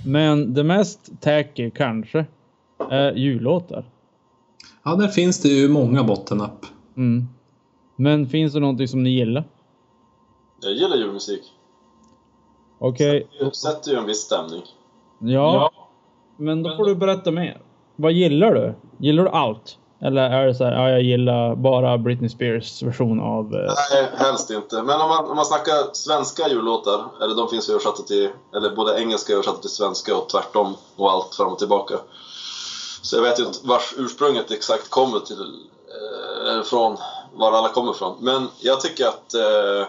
Speaker 2: Men det mest tacky kanske är jullåtar.
Speaker 3: Ja, där finns det ju många bottenapp.
Speaker 2: Mm. Men finns det någonting som ni gillar?
Speaker 4: Jag gillar julmusik.
Speaker 2: Okej,
Speaker 4: Det sätter ju en viss stämning.
Speaker 2: ja. Men då får du berätta mer. Vad gillar du? Gillar du allt? Eller är det så här, ja, jag gillar bara Britney Spears version av... Eh,
Speaker 4: Nej, helst inte. Men om man, om man snackar svenska jullåtar, eller de finns ju översatta till, eller både engelska översatta till svenska och tvärtom och allt fram och tillbaka. Så jag vet ju inte vars ursprunget exakt kommer till, eh, från, var alla kommer ifrån. Men jag tycker att, eh,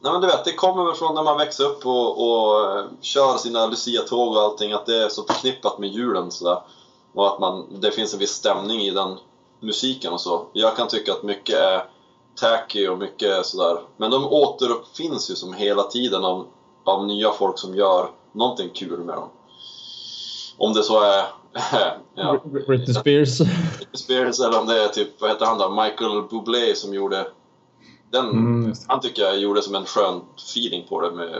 Speaker 4: nej men du vet, det kommer väl från när man växer upp och, och eh, kör sina Lucia-tåg och allting, att det är så förknippat med julen sådär. Och att man, det finns en viss stämning i den musiken och så. Jag kan tycka att mycket är tacky och mycket sådär. Men de återuppfinns ju som hela tiden av, av nya folk som gör någonting kul med dem. Om det så är ja,
Speaker 2: Br- Britney Spears.
Speaker 4: Spears eller om det är typ, vad heter han då, Michael Bublé som gjorde den.
Speaker 3: Mm.
Speaker 4: Han tycker jag gjorde som en skön feeling på det med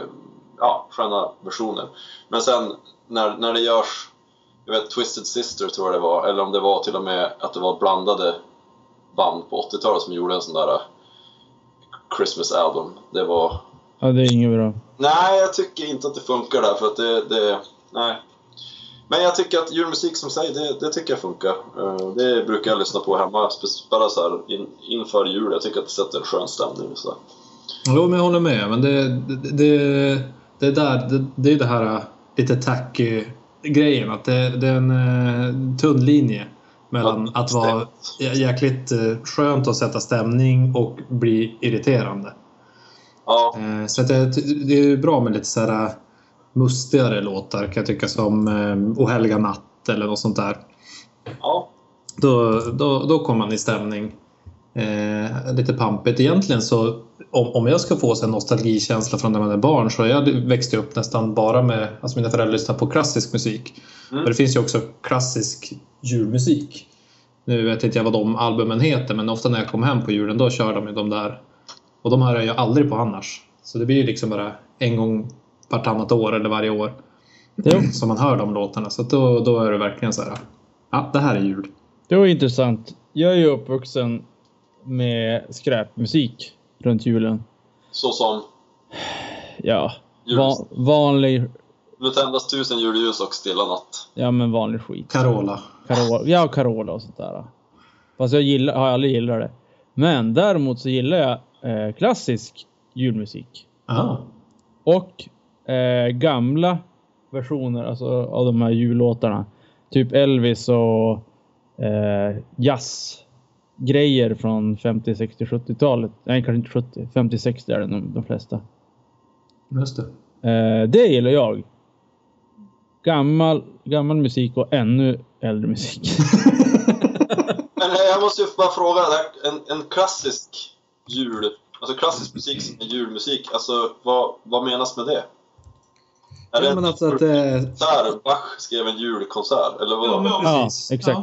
Speaker 4: ja, sköna versioner. Men sen när, när det görs, jag vet Twisted Sister tror jag det var, eller om det var till och med att det var blandade band på 80-talet som gjorde en sån där eh, Christmas album. Det var...
Speaker 2: ja, det är inget bra.
Speaker 4: Nej, jag tycker inte att det funkar där för att det... det nej. Men jag tycker att julmusik som säger, det, det tycker jag funkar. Eh, Det brukar jag lyssna på hemma, spe- bara så här in, inför jul. Jag tycker att det sätter en skön stämning. Så.
Speaker 3: Jo, men jag håller med. Men det, det, det, det, där, det, det är det här äh, lite tacky-grejen. Att det, det är en eh, tunn linje mellan att vara jä- jäkligt eh, skönt att sätta stämning och bli irriterande.
Speaker 4: Ja,
Speaker 3: Eh, Så att det, det är ju bra med lite så här äh, mustigare låtar kan jag tycka som eh, O helga natt eller något sånt där.
Speaker 4: ja.
Speaker 3: Då, då, då kommer man i stämning. Eh, lite pampigt. Egentligen så om, om jag ska få så en nostalgikänsla från när man är barn så jag växte upp nästan bara med, alltså mina föräldrar lyssnade på klassisk musik.
Speaker 4: Mm.
Speaker 3: Och det finns ju också klassisk julmusik. Nu vet inte jag vad de albumen heter men ofta när jag kom hem på julen då kör de ju de där. Och de hör jag ju aldrig på annars. Så det blir ju liksom bara en gång vartannat år eller varje år
Speaker 2: Jo.
Speaker 3: som man hör de låtarna. Så att då, då är det verkligen så här, ja det här är jul.
Speaker 2: Det var intressant. Jag är ju uppvuxen med skräpmusik runt julen.
Speaker 4: Så som,
Speaker 2: Ja, va-
Speaker 4: Julmusik.
Speaker 2: vanlig,
Speaker 4: nu tändas tusen julljus och stilla natt.
Speaker 2: ja men vanlig skit.
Speaker 3: Carola.
Speaker 2: Carola, ja, Carola och sånt där. Fast jag gillar, har aldrig gillat det. Men däremot så gillar jag eh, klassisk julmusik.
Speaker 3: Ja.
Speaker 2: Och eh, gamla versioner alltså, av de här jullåtarna. Typ Elvis och eh, jazzgrejer från 50, 60, 70-talet. Nej, kanske inte 70. 50, 60 är det nog de flesta.
Speaker 3: Just det.
Speaker 2: Eh, det gillar jag. Gammal, gammal musik och ännu äldre musik.
Speaker 4: Men eh, jag måste ju bara fråga, det här- en, en klassisk jul, alltså klassisk musik som är julmusik, alltså vad, vad menas med det?
Speaker 3: Ja,
Speaker 4: Är det
Speaker 3: men
Speaker 4: en
Speaker 3: alltså att eh,
Speaker 4: konsert, Bach skrev en julkonsert, eller vad?
Speaker 3: Ja, men-
Speaker 2: ja,
Speaker 3: Precis.
Speaker 2: exakt.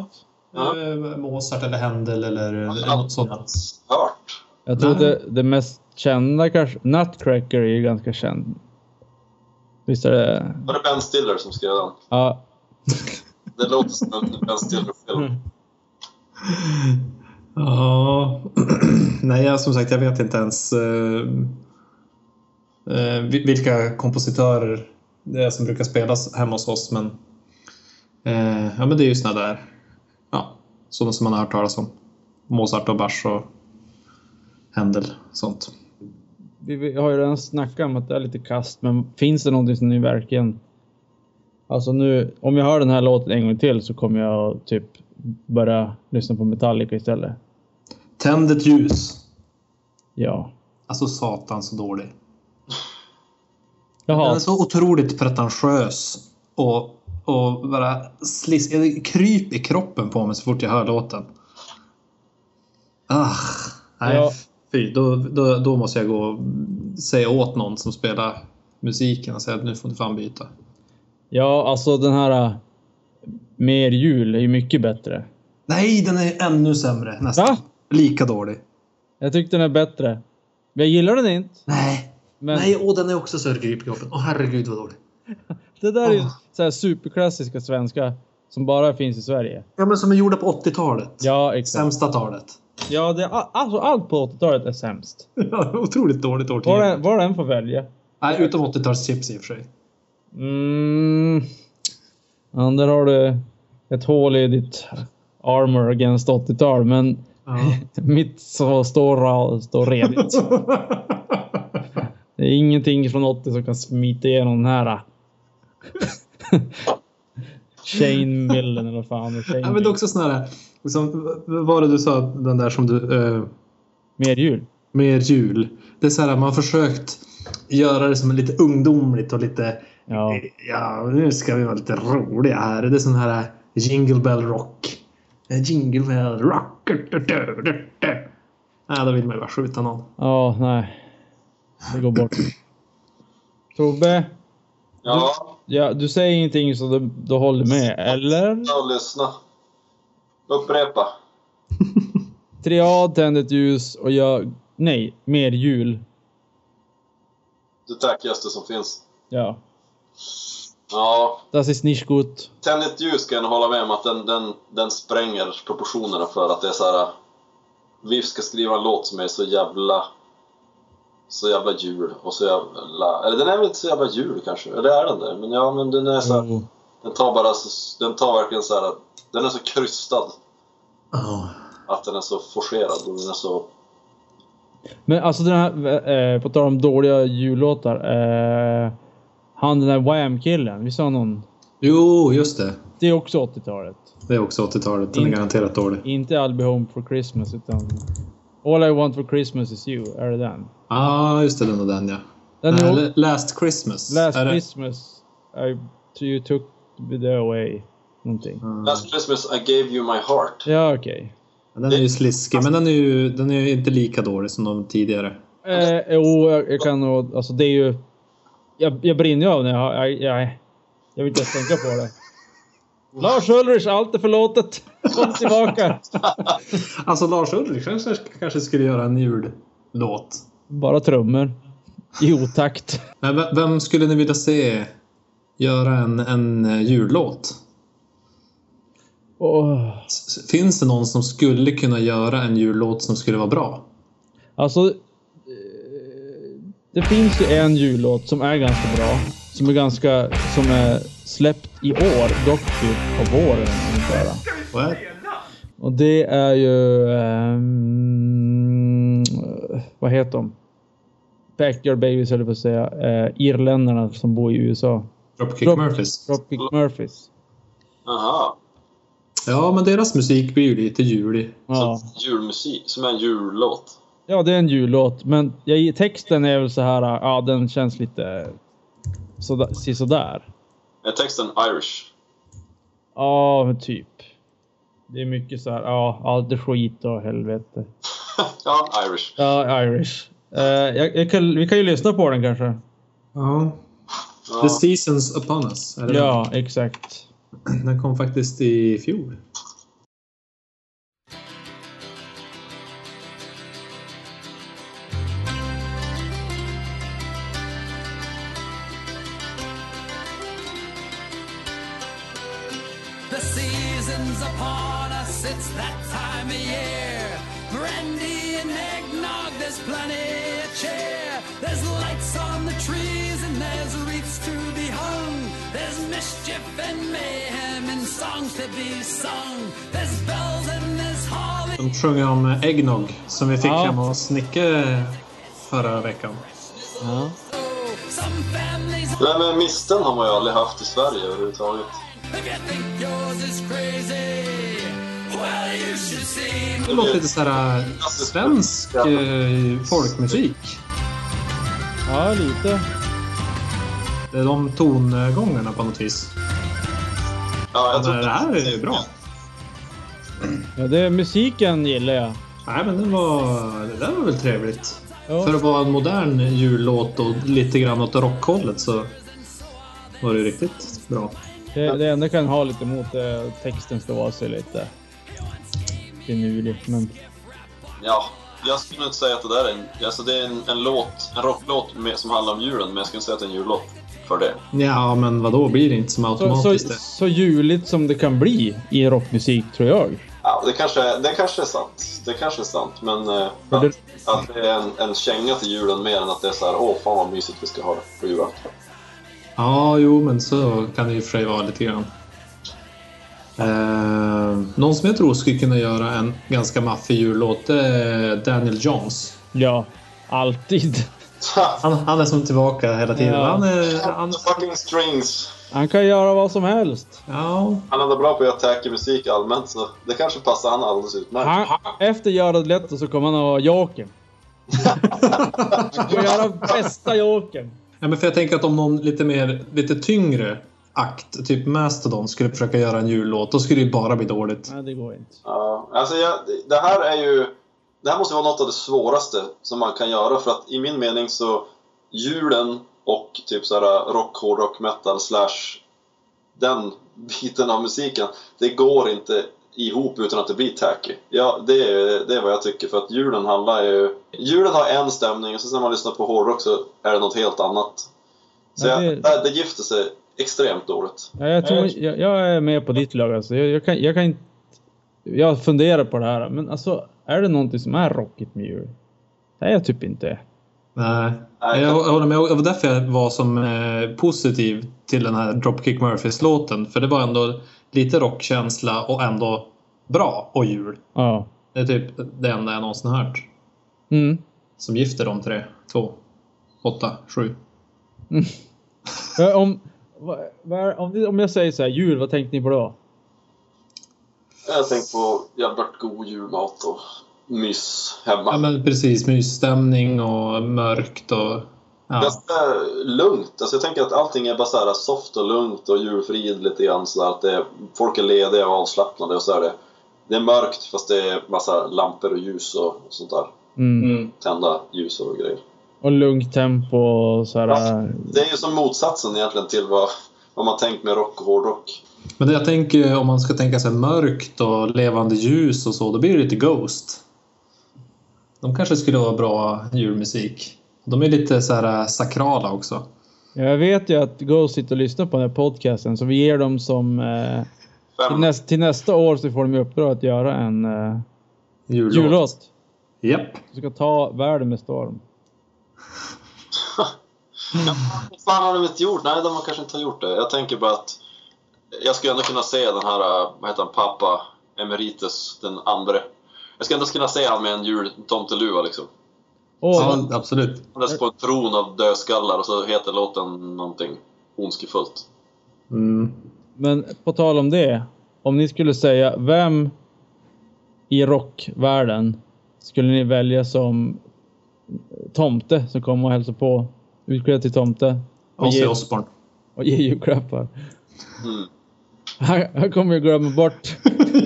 Speaker 4: Ja.
Speaker 3: eh, Mozart eller Händel eller eller något sådant.
Speaker 4: Hört?
Speaker 2: Jag tror det, det mest kända kanske... Nutcracker är ju ganska känd. Visst är det?
Speaker 4: Var det Ben Stiller som skrev den?
Speaker 2: Ja.
Speaker 4: Det låter som en Ben Stiller-film.
Speaker 3: Ja, nej jag, som sagt jag vet inte ens eh, eh, vil- vilka kompositörer det är som brukar spelas hemma hos oss. Men, eh, ja, men det är ju såna där ja, som, som man har hört talas om. Mozart och Bach och Händel sånt.
Speaker 2: Vi, vi har ju redan snackat om att det är lite kast, men finns det någonting som ni verkligen... Alltså nu, om jag hör den här låten en gång till så kommer jag typ börja lyssna på Metallica istället.
Speaker 3: Tänd ett ljus.
Speaker 2: Ja.
Speaker 3: Alltså satans dålig. Den
Speaker 2: Jaha,
Speaker 3: är så otroligt pretentiös och, och bara slis, det kryp i kroppen på mig så fort jag hör låten. Ah, nej,
Speaker 2: Ja.
Speaker 3: fy. Då, då, då måste jag gå och säga åt någon som spelar musiken och säga att nu får du fan byta.
Speaker 2: ja alltså den här... äh, Mer jul är ju mycket bättre.
Speaker 3: Nej, den är ännu sämre nästan.
Speaker 2: Va?
Speaker 3: Lika dålig.
Speaker 2: Jag tyckte den är bättre. Jag gillar den inte,
Speaker 3: Nej,
Speaker 2: men
Speaker 3: nej, och den är också så kryp i kroppen. Åh herregud vad dålig.
Speaker 2: det där är ju
Speaker 3: Åh.
Speaker 2: så här superklassiska svenska som bara finns i Sverige.
Speaker 3: Ja, men som är gjorda på 80-talet.
Speaker 2: Ja, exakt.
Speaker 3: Sämsta talet.
Speaker 2: Ja, det, är all- alltså allt på 80-talet är sämst.
Speaker 3: Otroligt dåligt
Speaker 2: Var
Speaker 3: årtionde.
Speaker 2: den, var den får välja.
Speaker 3: Nej, utom 80-talschips i och för sig.
Speaker 2: Mm. Ja, där har du ett hål i ditt armor against 80-tal, men
Speaker 3: Ja.
Speaker 2: mitt så står, ra- står redigt. Det är ingenting från 80 som kan smita igenom den här. äh. Shane Millen eller vad fan det är Shane
Speaker 3: Ja, men det är också sån här, liksom, vad var det du sa, den där som du, eh,
Speaker 2: Mer jul.
Speaker 3: med jul. Det är så här, man har försökt göra det som lite ungdomligt och lite,
Speaker 2: Ja.
Speaker 3: ja, nu ska vi vara lite roliga här. Det är sån här eh, jingle bell rock. Eh, Jingle bell rock. Nej, då vill man ju bara skjuta någon.
Speaker 2: Ja, nej. Det går bort. Tobbe,
Speaker 4: Ja,
Speaker 2: ja, du säger ingenting så du, du håller med, eller?
Speaker 4: ta och lyssna. Upprepa.
Speaker 2: Triad, tänd ett ljus och jag... Nej, mer jul.
Speaker 4: Det tackigaste som finns.
Speaker 2: Ja.
Speaker 4: Ja,
Speaker 2: Das ist nicht gut.
Speaker 4: Tänd ett ljus kan jag hålla med om att den, den, den spränger proportionerna för att det är så här. Vi ska skriva en låt som är så jävla... Så jävla jul och så jävla... Eller den är väl inte så jävla jul kanske? Eller är den det? Men ja, men den är så här,
Speaker 2: Jo.
Speaker 4: Den tar bara så, Den tar verkligen så här... Den är så krystad.
Speaker 3: Ja.
Speaker 4: Att den är så forcerad och den är så...
Speaker 2: Men alltså den här, eh, på tal om dåliga jullåtar. Eh, han den där Wham-killen, vi sa någon.
Speaker 3: Jo, just det.
Speaker 2: Det är också 80-talet.
Speaker 3: Det är också 80-talet. Den är
Speaker 2: Inte-
Speaker 3: garanterat dålig.
Speaker 2: Inte I'll be home for Christmas utan All I want for Christmas is you, är det den?
Speaker 3: Ja, ah, just det. Den och den ja.
Speaker 2: Den
Speaker 3: Nej,
Speaker 2: är
Speaker 3: la- last Christmas.
Speaker 2: Last
Speaker 3: Är det-
Speaker 2: Christmas I, you took me away. Någonting.
Speaker 3: Mm.
Speaker 4: Last Christmas I gave you my heart.
Speaker 2: Ja, okej.
Speaker 3: Den är ju sliskig, men den är ju, den är ju inte lika dålig som de tidigare.
Speaker 2: Eh, jo, jag, jag kan nog... Alltså det är ju... Jag, jag brinner ju av när jag, har- jag, jag... Jag vill inte ens tänka på det. Lars Ulrich, allt är förlåtet. Kom tillbaka.
Speaker 3: Alltså Lars Ulrich kanske, kanske skulle göra en jullåt.
Speaker 2: Bara trummor. I otakt.
Speaker 3: Men ve- vem skulle ni vilja se göra en, en eh, jullåt?
Speaker 2: Åh.
Speaker 3: S- s- Finns det någon som skulle kunna göra en jullåt som skulle vara bra?
Speaker 2: Alltså... eh, Det finns ju en jullåt som är ganska bra. Som är ganska... Som är släppt i år. Dock typ på våren. ungefär.
Speaker 3: Vad är-
Speaker 2: Och det är ju... ehm, vad heter de? Backyard Babies höll jag på att säga. Eh, irländarna som bor i USA.
Speaker 3: Dropkick
Speaker 2: Drop-
Speaker 3: Murphys?
Speaker 2: Dropkick Murphys.
Speaker 4: Aha.
Speaker 3: Ja, men deras musik blir ju lite julig.
Speaker 2: Ja.
Speaker 4: Så julmusik, som är en jullåt.
Speaker 2: ja, det är en jullåt. Men jag, texten är väl så här... Ja, den känns lite... Sådär, sisådär.
Speaker 4: Är texten Irish?
Speaker 2: Ja, men typ. Det är mycket så här, ja, allt är skit och helvete.
Speaker 4: ja, Irish.
Speaker 2: Ja, Irish. Eh, jag, jag kan, vi kan ju lyssna på den kanske.
Speaker 3: Ja.
Speaker 4: Ja.
Speaker 3: The Seasons Upon Us. Är det
Speaker 2: Ja, exakt.
Speaker 3: den? den kom faktiskt i fjol.
Speaker 1: The season's upon us, it's that time of year. brandy and eggnog, there's plenty of cheer. There's lights on the trees and there's wreaths to be hung. There's mischief and mayhem and songs to be sung. There's bells and there's holly.
Speaker 3: De sjunger om eggnog som vi fick
Speaker 2: Ja.
Speaker 3: hemma hos Nicke förra veckan.
Speaker 2: Ja.
Speaker 1: Oh, Some families
Speaker 4: Nej men misten har man ju aldrig haft i Sverige överhuvudtaget.
Speaker 1: If you think yours is crazy, well, you should see.
Speaker 3: Det låter lite så här eh, svensk eh, folkmusik.
Speaker 2: ja, lite.
Speaker 3: Det är de tongångarna på något vis.
Speaker 4: Ja, jag
Speaker 3: Men
Speaker 4: tror
Speaker 3: det här är ju bra.
Speaker 2: Ja, det, musiken gillar jag.
Speaker 3: Nej, men det, var, det där var väl trevligt.
Speaker 2: Ja.
Speaker 3: För att vara en modern jullåt och lite grann åt rockhållet så var det ju riktigt bra.
Speaker 2: Det, det enda jag kan ha lite emot är att texten ska vara så lite finurlig. Men
Speaker 4: Ja, jag skulle inte säga att det där är en... Alltså det är en, en låt, en rocklåt med, som handlar om julen, men jag skulle inte säga att det är en jullåt för det.
Speaker 3: Ja, men vad då blir det inte som
Speaker 2: så, så,
Speaker 3: automatiskt det?
Speaker 2: så juligt som det kan bli i rockmusik tror jag.
Speaker 4: Ja, det kanske, det kanske är sant. Det kanske är sant, men eh,
Speaker 2: Ja, det-
Speaker 4: att, att det är en, en känga till julen mer än att det är så här åh fan vad mysigt vi ska ha det på julafton.
Speaker 3: Ja, jo, men så kan det ju i och för sig vara lite grann. Eh, någon som jag tror skulle kunna göra en ganska maffig jullåt det är Daniel Johns.
Speaker 2: Ja, alltid.
Speaker 3: Han, han är som tillbaka hela tiden.
Speaker 2: Ja.
Speaker 3: Han är, han,
Speaker 4: Fucking strings!
Speaker 2: Han kan göra vad som helst.
Speaker 3: ja,
Speaker 4: Han är ändå bra på att göra tacky musik allmänt, så det kanske passar han alldeles utmärkt.
Speaker 2: Han, efter Gerhard Leto så kommer han ha Jokern. Han kommer göra bästa Jokern.
Speaker 3: Ja, men för jag tänker att om någon lite mer, lite tyngre akt, typ Mastodon, skulle försöka göra en jullåt, då skulle det ju bara bli dåligt.
Speaker 2: Nej, det går inte.
Speaker 4: Ja, alltså jag, det här är ju... Det här måste vara något av det svåraste som man kan göra för att i min mening så julen och typ så här rock, hårdrock, metal slash den biten av musiken, det går inte ihop utan att det blir tacky. Ja, det är, det är vad jag tycker för att julen handlar ju... Julen har en stämning och sen när man lyssnar på hårdrock så är det något helt annat. Så
Speaker 2: Ja,
Speaker 4: jag,
Speaker 2: det-
Speaker 4: det, det gifter sig extremt dåligt.
Speaker 2: Ja, jag, tror, jag, jag är med på ditt lag alltså. Jag, jag, kan, jag kan inte... Jag funderar på det här, men alltså är det någonting som är rockigt med jul? Nej, jag typ inte.
Speaker 3: Nej.
Speaker 4: Nej,
Speaker 3: Jag håller med. Det var därför jag var som eh, positiv till den här Dropkick Murphys-låten. För det var ändå lite rockkänsla och ändå bra och jul.
Speaker 2: Ja.
Speaker 3: Det är typ det enda jag någonsin hört.
Speaker 2: Mm.
Speaker 3: Som gifter de tre. Två, åtta, sju.
Speaker 2: Ja, Om, vad- vad är- om, det- om jag säger så här, jul, vad tänkte ni på då?
Speaker 4: Jag tänker på jävligt god julmat och mys
Speaker 3: Ja
Speaker 4: hemma.
Speaker 3: men precis. Mysstämning och mörkt och... Ja.
Speaker 4: Ganska lugnt. Alltså jag tänker att allting är bara så här soft och lugnt och julfrid lite grann. Så där att det är, folk är lediga och avslappnade och så är det. Det är mörkt fast det är massa lampor och ljus och, och sånt där.
Speaker 2: Mm.
Speaker 3: Mm.
Speaker 4: Tända ljus och grejer.
Speaker 2: Och lugnt tempo och så här. äh,
Speaker 4: Det är ju som motsatsen egentligen till vad, vad man tänkt med rock och hårdrock.
Speaker 3: Men det jag tänker om man ska tänka sig mörkt och levande ljus och så, då blir det lite Ghost. De kanske skulle vara bra julmusik. De är lite så här eh, sakrala också.
Speaker 2: Jag vet ju att Ghost sitter och lyssnar på den här podcasten, så vi ger dem som... Eh, till,
Speaker 4: Fem.
Speaker 2: näst, till nästa år så får de i uppdrag att göra en eh,
Speaker 3: Jullåt.
Speaker 2: jullåt.
Speaker 3: Japp.
Speaker 2: Du ska ta världen med storm.
Speaker 4: Vad fan har de inte gjort? Nej, de har kanske inte gjort det. Jag tänker bara att jag skulle ändå kunna se den här, eh, vad heter han, pappa emeritus den andre. Jag skulle ändå kunna se han med en jultomteluva liksom.
Speaker 2: Åh,
Speaker 3: Ja, absolut.
Speaker 4: Han är på en tron av dödskallar och så heter låten någonting ondskefullt.
Speaker 3: Mm.
Speaker 2: Men på tal om det. Om ni skulle säga vem i rockvärlden skulle ni välja som tomte som kommer och hälsar på? Utklädd till tomte och
Speaker 3: Ozzy
Speaker 2: ger,
Speaker 3: Osbourne.
Speaker 2: och ger julklappar.
Speaker 4: Mm.
Speaker 2: Han, han kommer ju glömma bort.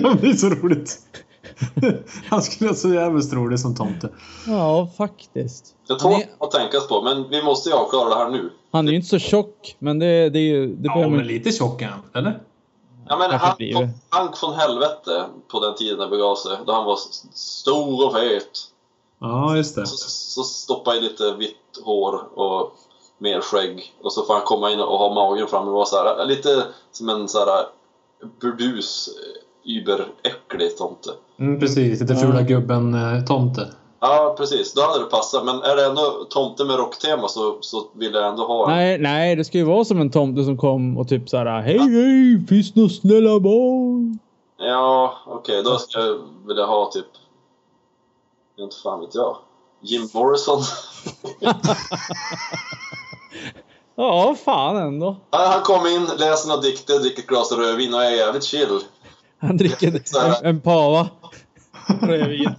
Speaker 3: Ja, det är så roligt. Han skulle vara så jävligt rolig som tomte.
Speaker 2: Ja, faktiskt.
Speaker 4: Det är
Speaker 2: Han
Speaker 4: två
Speaker 2: är,
Speaker 4: att tänkas på, men vi måste ju avklara det här nu.
Speaker 2: han är ju inte så tjock, men det, det är ju... Det
Speaker 3: Ja,
Speaker 2: behöver man-
Speaker 3: men lite tjock är han, eller?
Speaker 4: Ja, men
Speaker 2: Kanske
Speaker 4: han,
Speaker 2: blir det.
Speaker 4: han från helvete på den tiden när det begav sig, då han var s- stor och fet.
Speaker 3: Ja, just det.
Speaker 4: Så, så stoppa i lite vitt hår och mer skägg. Och så får han komma in och ha magen fram och vara så här, lite som en så här burdus überäcklig tomte.
Speaker 3: Mm, precis, den fula eh,
Speaker 2: Ja.
Speaker 3: gubben-tomte.
Speaker 4: Ja, precis. Då hade det passat. Men är det ändå tomte med rocktema så, så vill jag ändå ha en.
Speaker 2: Nej, nej, det ska ju vara som en tomte som kom och typ så här. Hej, hej, finns det några snälla barn?
Speaker 4: Ja, okej. Då ska jag vilja ha typ... Inte fan vet jag. Jim Morrison.
Speaker 2: Ja, fan ändå.
Speaker 4: Ja, Han kom in, läser några dikter, dricker ett glas rödvin och är jävligt chill.
Speaker 2: Han dricker en, en pava. Rödvin.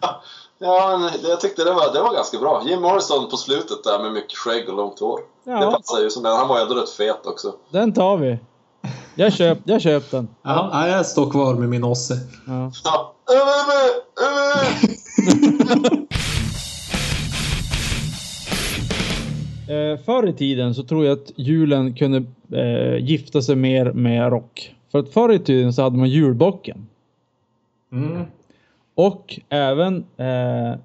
Speaker 4: Ja, men jag tyckte det var, det var ganska bra. Jim Morrison på slutet där med mycket skägg och långt hår. Det
Speaker 2: Ja,
Speaker 4: passar ju som den. Han var ju ändå rätt fet också.
Speaker 2: den tar vi. Jag köp, jag köp den.
Speaker 3: Ja, ja, jag står kvar med min osse.
Speaker 2: Ja.
Speaker 4: Ja. Över, över.
Speaker 2: Eh, förr i tiden så tror jag att julen kunde eh, gifta sig mer med rock. För att förr i tiden så hade man julbocken.
Speaker 3: Mm.
Speaker 2: Och även eh,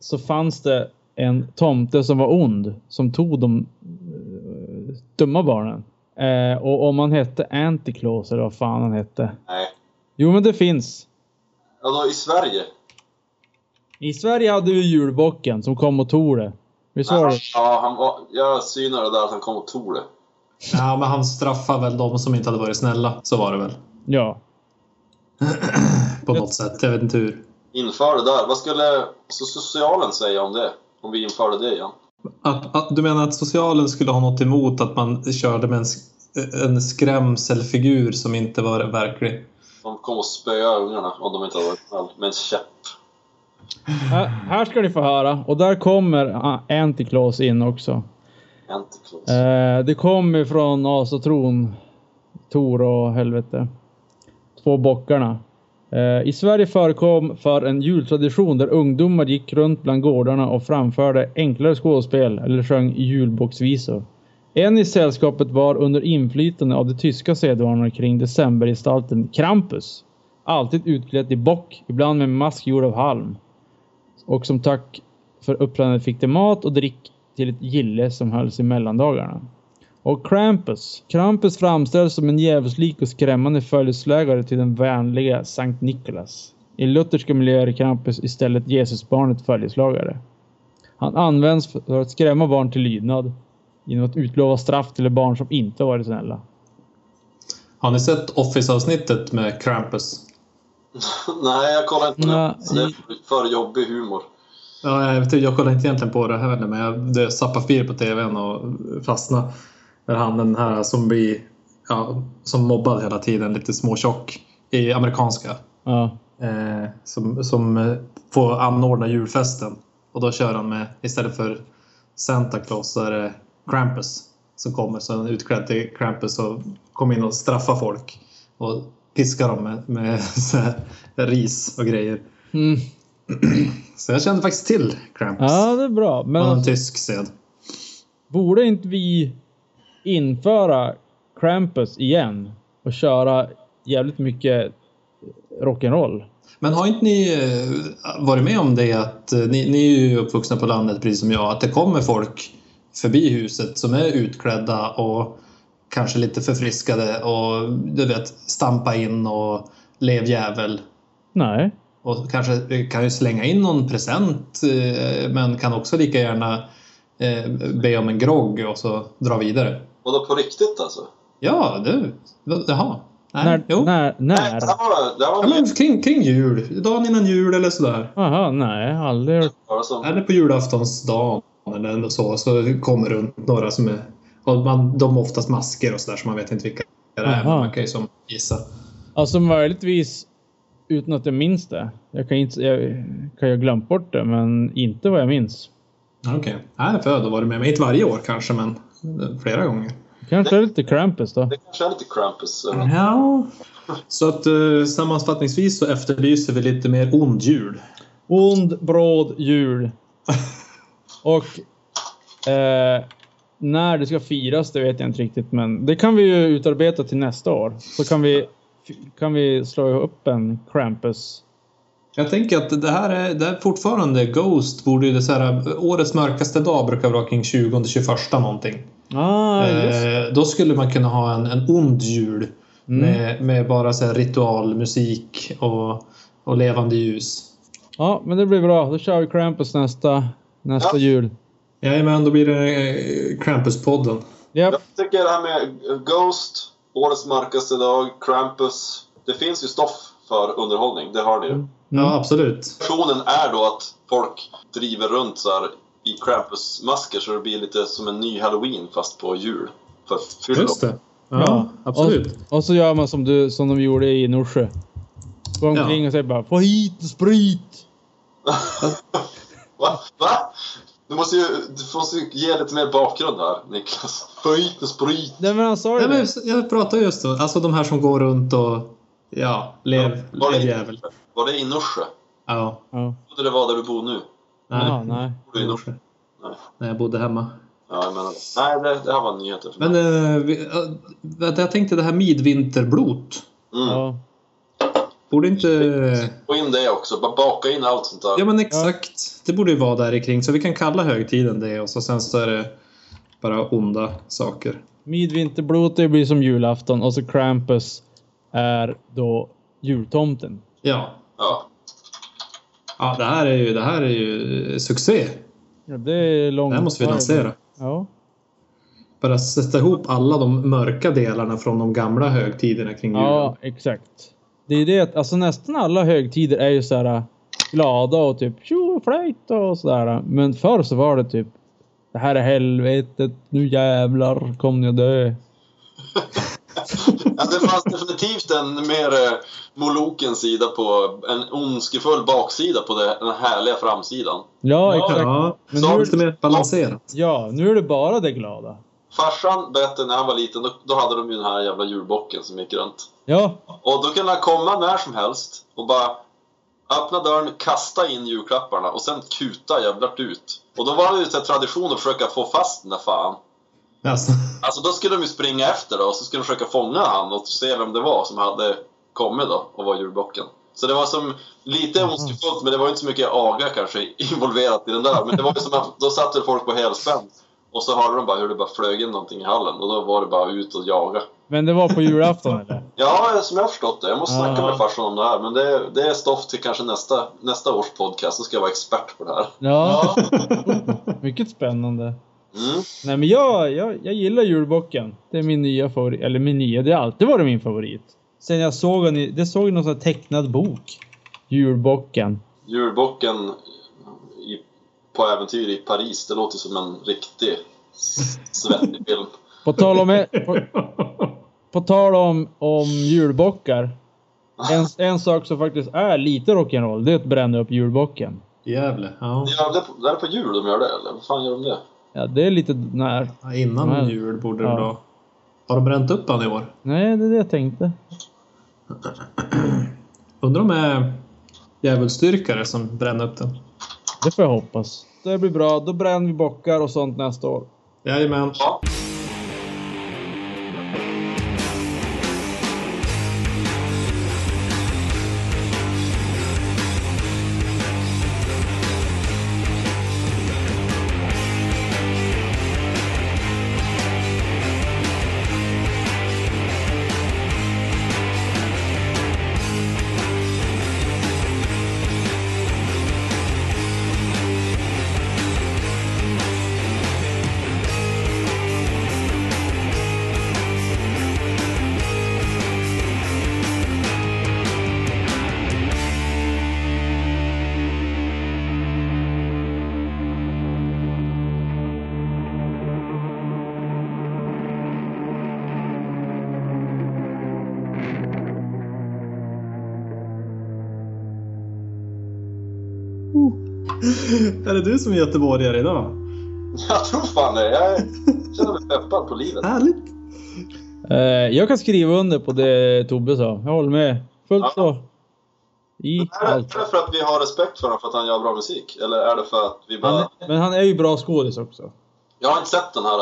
Speaker 2: så fanns det en tomte som var ond som tog de eh, dumma barnen. Eh, och om han hette Anticlaus eller vad fan han hette.
Speaker 4: Nej.
Speaker 2: Jo men det finns.
Speaker 4: Ja, då i Sverige.
Speaker 2: I Sverige hade vi julbocken som kom och tog det. Visst var det?
Speaker 4: Ja, han var, jag synade det där att han kom och tog det.
Speaker 3: Ja, men han straffar väl de som inte hade varit snälla. Så var det väl.
Speaker 2: Ja.
Speaker 3: På något sätt. Jag vet inte hur.
Speaker 4: Inför det där. Vad skulle så socialen säga om det? Om vi införde det igen?
Speaker 3: Att, att, du menar att socialen skulle ha något emot att man körde med en, sk- en skrämselfigur som inte var verklig?
Speaker 4: De kom och spöa ungarna om de inte hade varit snäll. Med en käpp.
Speaker 2: Här, här ska ni få höra. Och där kommer ah, Anticlaus in också.
Speaker 4: Antiklaus.
Speaker 2: Eh, det kom ifrån asatron, Tor och helvete. Två bockarna. Eh, I Sverige förekom för en jultradition där ungdomar gick runt bland gårdarna och framförde enklare skådespel eller sjöng julbocksvisor. En i sällskapet var under inflytande av de tyska sedvanorna kring decembergestalten Krampus. Alltid utklädd i bock, ibland med mask gjord av halm. Och som tack för uppträdandet fick de mat och dryck till ett gille som hölls i mellandagarna. Och Krampus. Krampus framställs som en djävulslik och skrämmande följeslagare till den vänliga Sankt Nikolas. I lutherska miljöer är Krampus istället Jesusbarnet följeslagare. Han används för att skrämma barn till lydnad genom att utlova straff till barn som inte varit snälla.
Speaker 3: Har ni sett Office-avsnittet med Krampus?
Speaker 4: Nej, jag kollar inte på det.
Speaker 2: Nej.
Speaker 4: Så det är för- för jobbig humor.
Speaker 3: Ja, jag, vet, inte, jag kollar inte egentligen på det här heller, men jag det zappade förbi det på tvn och fastnade. Där han den här som blir ja, som mobbad hela tiden, lite småtjock i amerikanska.
Speaker 2: Ja.
Speaker 3: Eh, som som eh, får anordna julfesten. Och då kör han med, istället för Santa Claus så är det Krampus som kommer. Så han är utklädd till Krampus och kommer in och straffar folk. Och piskar dem med, med så här, ris och grejer.
Speaker 2: Mm.
Speaker 3: Så jag kände faktiskt till Krampus.
Speaker 2: ja, det är bra. Men
Speaker 3: Av en
Speaker 2: alltså,
Speaker 3: tysk sed.
Speaker 2: borde inte vi införa Krampus igen och köra jävligt mycket rock'n'roll?
Speaker 3: Men har inte ni eh, varit med om det att eh, ni, ni är ju uppvuxna på landet precis som jag, att det kommer folk förbi huset som är utklädda och kanske lite förfriskade och du vet stampa in och lev jävel
Speaker 2: Nej.
Speaker 3: och kanske eh, kan ju slänga in någon present eh, men kan också lika gärna eh, be om en grogg och så dra vidare.
Speaker 4: Och då på riktigt alltså?
Speaker 3: Ja, du. Jaha. Nej,
Speaker 2: När?
Speaker 3: jo.
Speaker 2: När?
Speaker 4: Nej,
Speaker 2: när?
Speaker 4: det här var, det här var
Speaker 3: Ja,
Speaker 4: nytt.
Speaker 3: men kring, kring jul, dagen innan jul eller sådär.
Speaker 2: Aha, nej, aldrig hört.
Speaker 4: Bara som,
Speaker 3: Eller på julaftonsdagen eller så, så kommer runt några som är... Och man, de har oftast masker och sådär, så man vet inte vilka det är. Men
Speaker 2: Aha.
Speaker 3: man kan ju som gissa.
Speaker 2: Alltså möjligtvis utan att jag minns det. Jag kan inte, jag kan ju ha glömt bort det, men inte vad jag minns.
Speaker 3: Ja, Okej. Nej, för jag har varit med mig. Inte varje år kanske, men flera gånger.
Speaker 2: Kanske är det lite Krampus då.
Speaker 4: det kanske är lite Krampus. över det.
Speaker 3: Ja. Så att eh, sammanfattningsvis så efterlyser vi lite mer ond jul.
Speaker 2: Ond bråd jul. Och eh, när det ska firas, det vet jag inte riktigt, men det kan vi ju utarbeta till nästa år. Så kan vi, kan vi slå upp en Krampus.
Speaker 3: Jag tänker att det här är, det här är fortfarande Ghost borde ju det så här, eh, årets mörkaste dag brukar vara kring 20-21 någonting.
Speaker 2: Ah, just.
Speaker 3: Eh, då skulle man kunna ha en, en ond jul
Speaker 2: Mm.
Speaker 3: Med, med bara så här ritualmusik och, och levande ljus.
Speaker 2: Ja, men det blir bra. Då kör vi Krampus nästa, nästa
Speaker 4: Ja.
Speaker 2: jul.
Speaker 3: Jajamän, då blir det eh, Krampus-podden.
Speaker 2: Japp.
Speaker 4: Jag tycker det här med Ghost, Årets mörkaste dag, Krampus. Det finns ju stoff för underhållning, det hör ni ju.
Speaker 3: Ja, absolut.
Speaker 4: Versionen är då att folk driver runt så här i Krampus-masker så det blir lite som en ny Halloween fast på jul. För att fylla
Speaker 3: Just det. Ja, absolut.
Speaker 2: Och, och så gör man som, du, som de gjorde i Norsjö. Går omkring och säger bara få hit sprit!
Speaker 4: Va? Va? Du måste ju, du måste ju ge lite mer bakgrund här, Niklas. Få hit en sprit.
Speaker 2: Nej men han sa ju
Speaker 3: Nej, men
Speaker 2: det.
Speaker 3: jag pratar just då. Alltså de här som går runt och ja, lev,
Speaker 4: Var det,
Speaker 3: lev
Speaker 4: i-
Speaker 3: jävel.
Speaker 4: var det i Norsjö?
Speaker 3: Ja.
Speaker 2: Ja.
Speaker 4: Jag trodde det var där du bor nu.
Speaker 3: Nej.
Speaker 2: Ja, nej.
Speaker 4: Bor du i Norsjö?
Speaker 3: När jag bodde hemma.
Speaker 4: Ja, jag menar det. Nej, det, det här var nyheter för mig.
Speaker 3: Men eh, vi, eh, vänta, jag tänkte det här midvinterblot.
Speaker 4: Mm.
Speaker 2: Ja.
Speaker 3: Borde inte...
Speaker 4: Få in det också. Bara baka in allt sånt där.
Speaker 3: Ja men exakt. Det borde ju vara där i kring. Så vi kan kalla högtiden det och så sen så är det bara onda saker.
Speaker 2: Midvinterblot det blir som julafton och så Krampus är då jultomten.
Speaker 3: Ja.
Speaker 4: Ja.
Speaker 3: Ja, det här är ju, det här är ju succé.
Speaker 2: Ja, det är långt.
Speaker 3: Det här måste vi lansera.
Speaker 2: Ja.
Speaker 3: Bara sätta ihop alla de mörka delarna från de gamla högtiderna kring julen.
Speaker 2: ja, exakt. Det är det att alltså nästan alla högtider är ju så här äh, glada och typ tjo flöjt och sådär. Men förr så var det typ det här är helvetet, nu jävlar kommer jag dö.
Speaker 4: ja, det fanns definitivt en mer eh, molokens sida på... En ondskefull baksida på det, den härliga framsidan.
Speaker 2: Ja, exakt.
Speaker 3: Ja, men nu
Speaker 4: Så-
Speaker 3: är det lite mer balanserat.
Speaker 2: Ja, nu är det bara det glada.
Speaker 4: Farsan berättade när han var liten, då, då hade de ju den här jävla julbocken som gick runt.
Speaker 2: Ja,
Speaker 4: Och då kunde han komma när som helst och bara öppna dörren, kasta in julklapparna och sen kuta jävlar ut. Och då var det ju så här tradition att försöka få fast den där fan.
Speaker 3: Alltså,
Speaker 4: Alltså då skulle de ju springa efter då och så skulle de försöka fånga han och se vem det var som hade kommit då och var julbocken. Så det var som lite ondskefullt men det var ju inte så mycket aga kanske involverat i den där. Men det var ju som att då satt väl folk på helspänn och så hörde de bara hur det bara flög in någonting i hallen och då var det bara ut och jaga.
Speaker 2: men det var på julafton eller?
Speaker 4: Ja, som jag har förstått det. Jag måste snacka
Speaker 2: Ja.
Speaker 4: med farsan om det här. Men det, det är stoff till kanske nästa, nästa års podcast. Då ska jag vara expert på det här.
Speaker 2: Ja, mycket spännande.
Speaker 4: Mm.
Speaker 2: Nej men jag, jag, jag gillar julbocken. Det är min nya favorit. Eller min nya, det har alltid varit min favorit. Sen jag såg den i, det såg i någon sån här tecknad bok. Julbocken.
Speaker 4: Julbocken i, på äventyr i Paris. Det låter som en riktig s- svettig film.
Speaker 2: På tal om, e- på, på tal om, om julbockar. En, en sak som faktiskt är lite rock'n'roll, det är att bränna upp julbocken.
Speaker 3: Gävle. Ja.
Speaker 4: Ja, det, det är på jul de gör det, eller? Vad fan gör de det?
Speaker 2: Ja, det är lite när.
Speaker 3: Ja, Innan
Speaker 2: Men-
Speaker 3: jul borde det
Speaker 2: Ja.
Speaker 3: då. Har de bränt upp han i år?
Speaker 2: Nej, det är det jag tänkte.
Speaker 3: Undrar om det är djävulsdyrkare som bränner upp den.
Speaker 2: Det får jag hoppas. Det blir bra. Då bränner vi bockar och sånt nästa år.
Speaker 3: Jajamän.
Speaker 4: Ja.
Speaker 3: Är det du som är göteborgare idag?
Speaker 4: Jag tror fan det. Jag känner mig peppad på livet.
Speaker 3: Härligt!
Speaker 2: Eh, jag kan skriva under på det Tobbe sa. Jag håller med. Fullt så. I
Speaker 4: Är det,
Speaker 2: allt.
Speaker 4: är det för att vi har respekt för honom för att han gör bra musik? Eller är det för att vi bara...
Speaker 2: Han, men han är ju bra skådis också.
Speaker 4: Jag har inte sett den här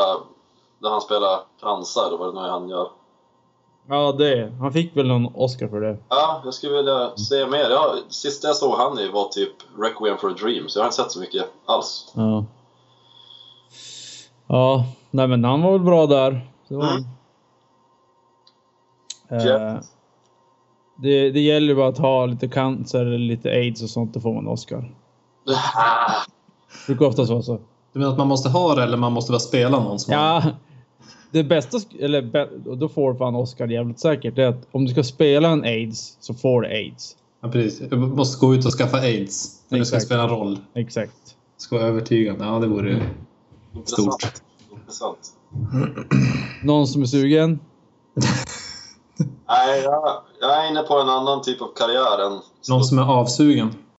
Speaker 4: där han spelar fransar eller vad det nu är han gör.
Speaker 2: Ja, det. Han fick väl någon Oscar för det.
Speaker 4: Ja, jag skulle vilja se mer. Ja, sista jag såg han i var typ Requiem for a Dream, så jag har inte sett så mycket alls.
Speaker 2: Ja. Ja, nej men han var väl bra där. Så.
Speaker 4: Mm.
Speaker 2: Eh, det, det gäller ju bara att ha lite cancer eller lite aids och sånt, då får man Oscar. Brukar oftast vara så.
Speaker 3: Du menar att man måste ha det eller man måste bara spela någon som har
Speaker 2: Ja. Det bästa, sk- eller bä- och då får fan Oscar jävligt säkert, det är att om du ska spela en aids så får du aids.
Speaker 3: ja, precis. Du måste gå ut och skaffa aids när du ska
Speaker 2: Exakt.
Speaker 3: spela en roll.
Speaker 2: Exakt.
Speaker 3: Ska vara övertygande. Ja, det vore ju
Speaker 2: Mm.
Speaker 4: Intressant.
Speaker 3: stort.
Speaker 4: Intressant.
Speaker 2: Någon som är sugen?
Speaker 4: Nej, jag, jag är inne på en annan typ av karriär än...
Speaker 3: Någon som är avsugen.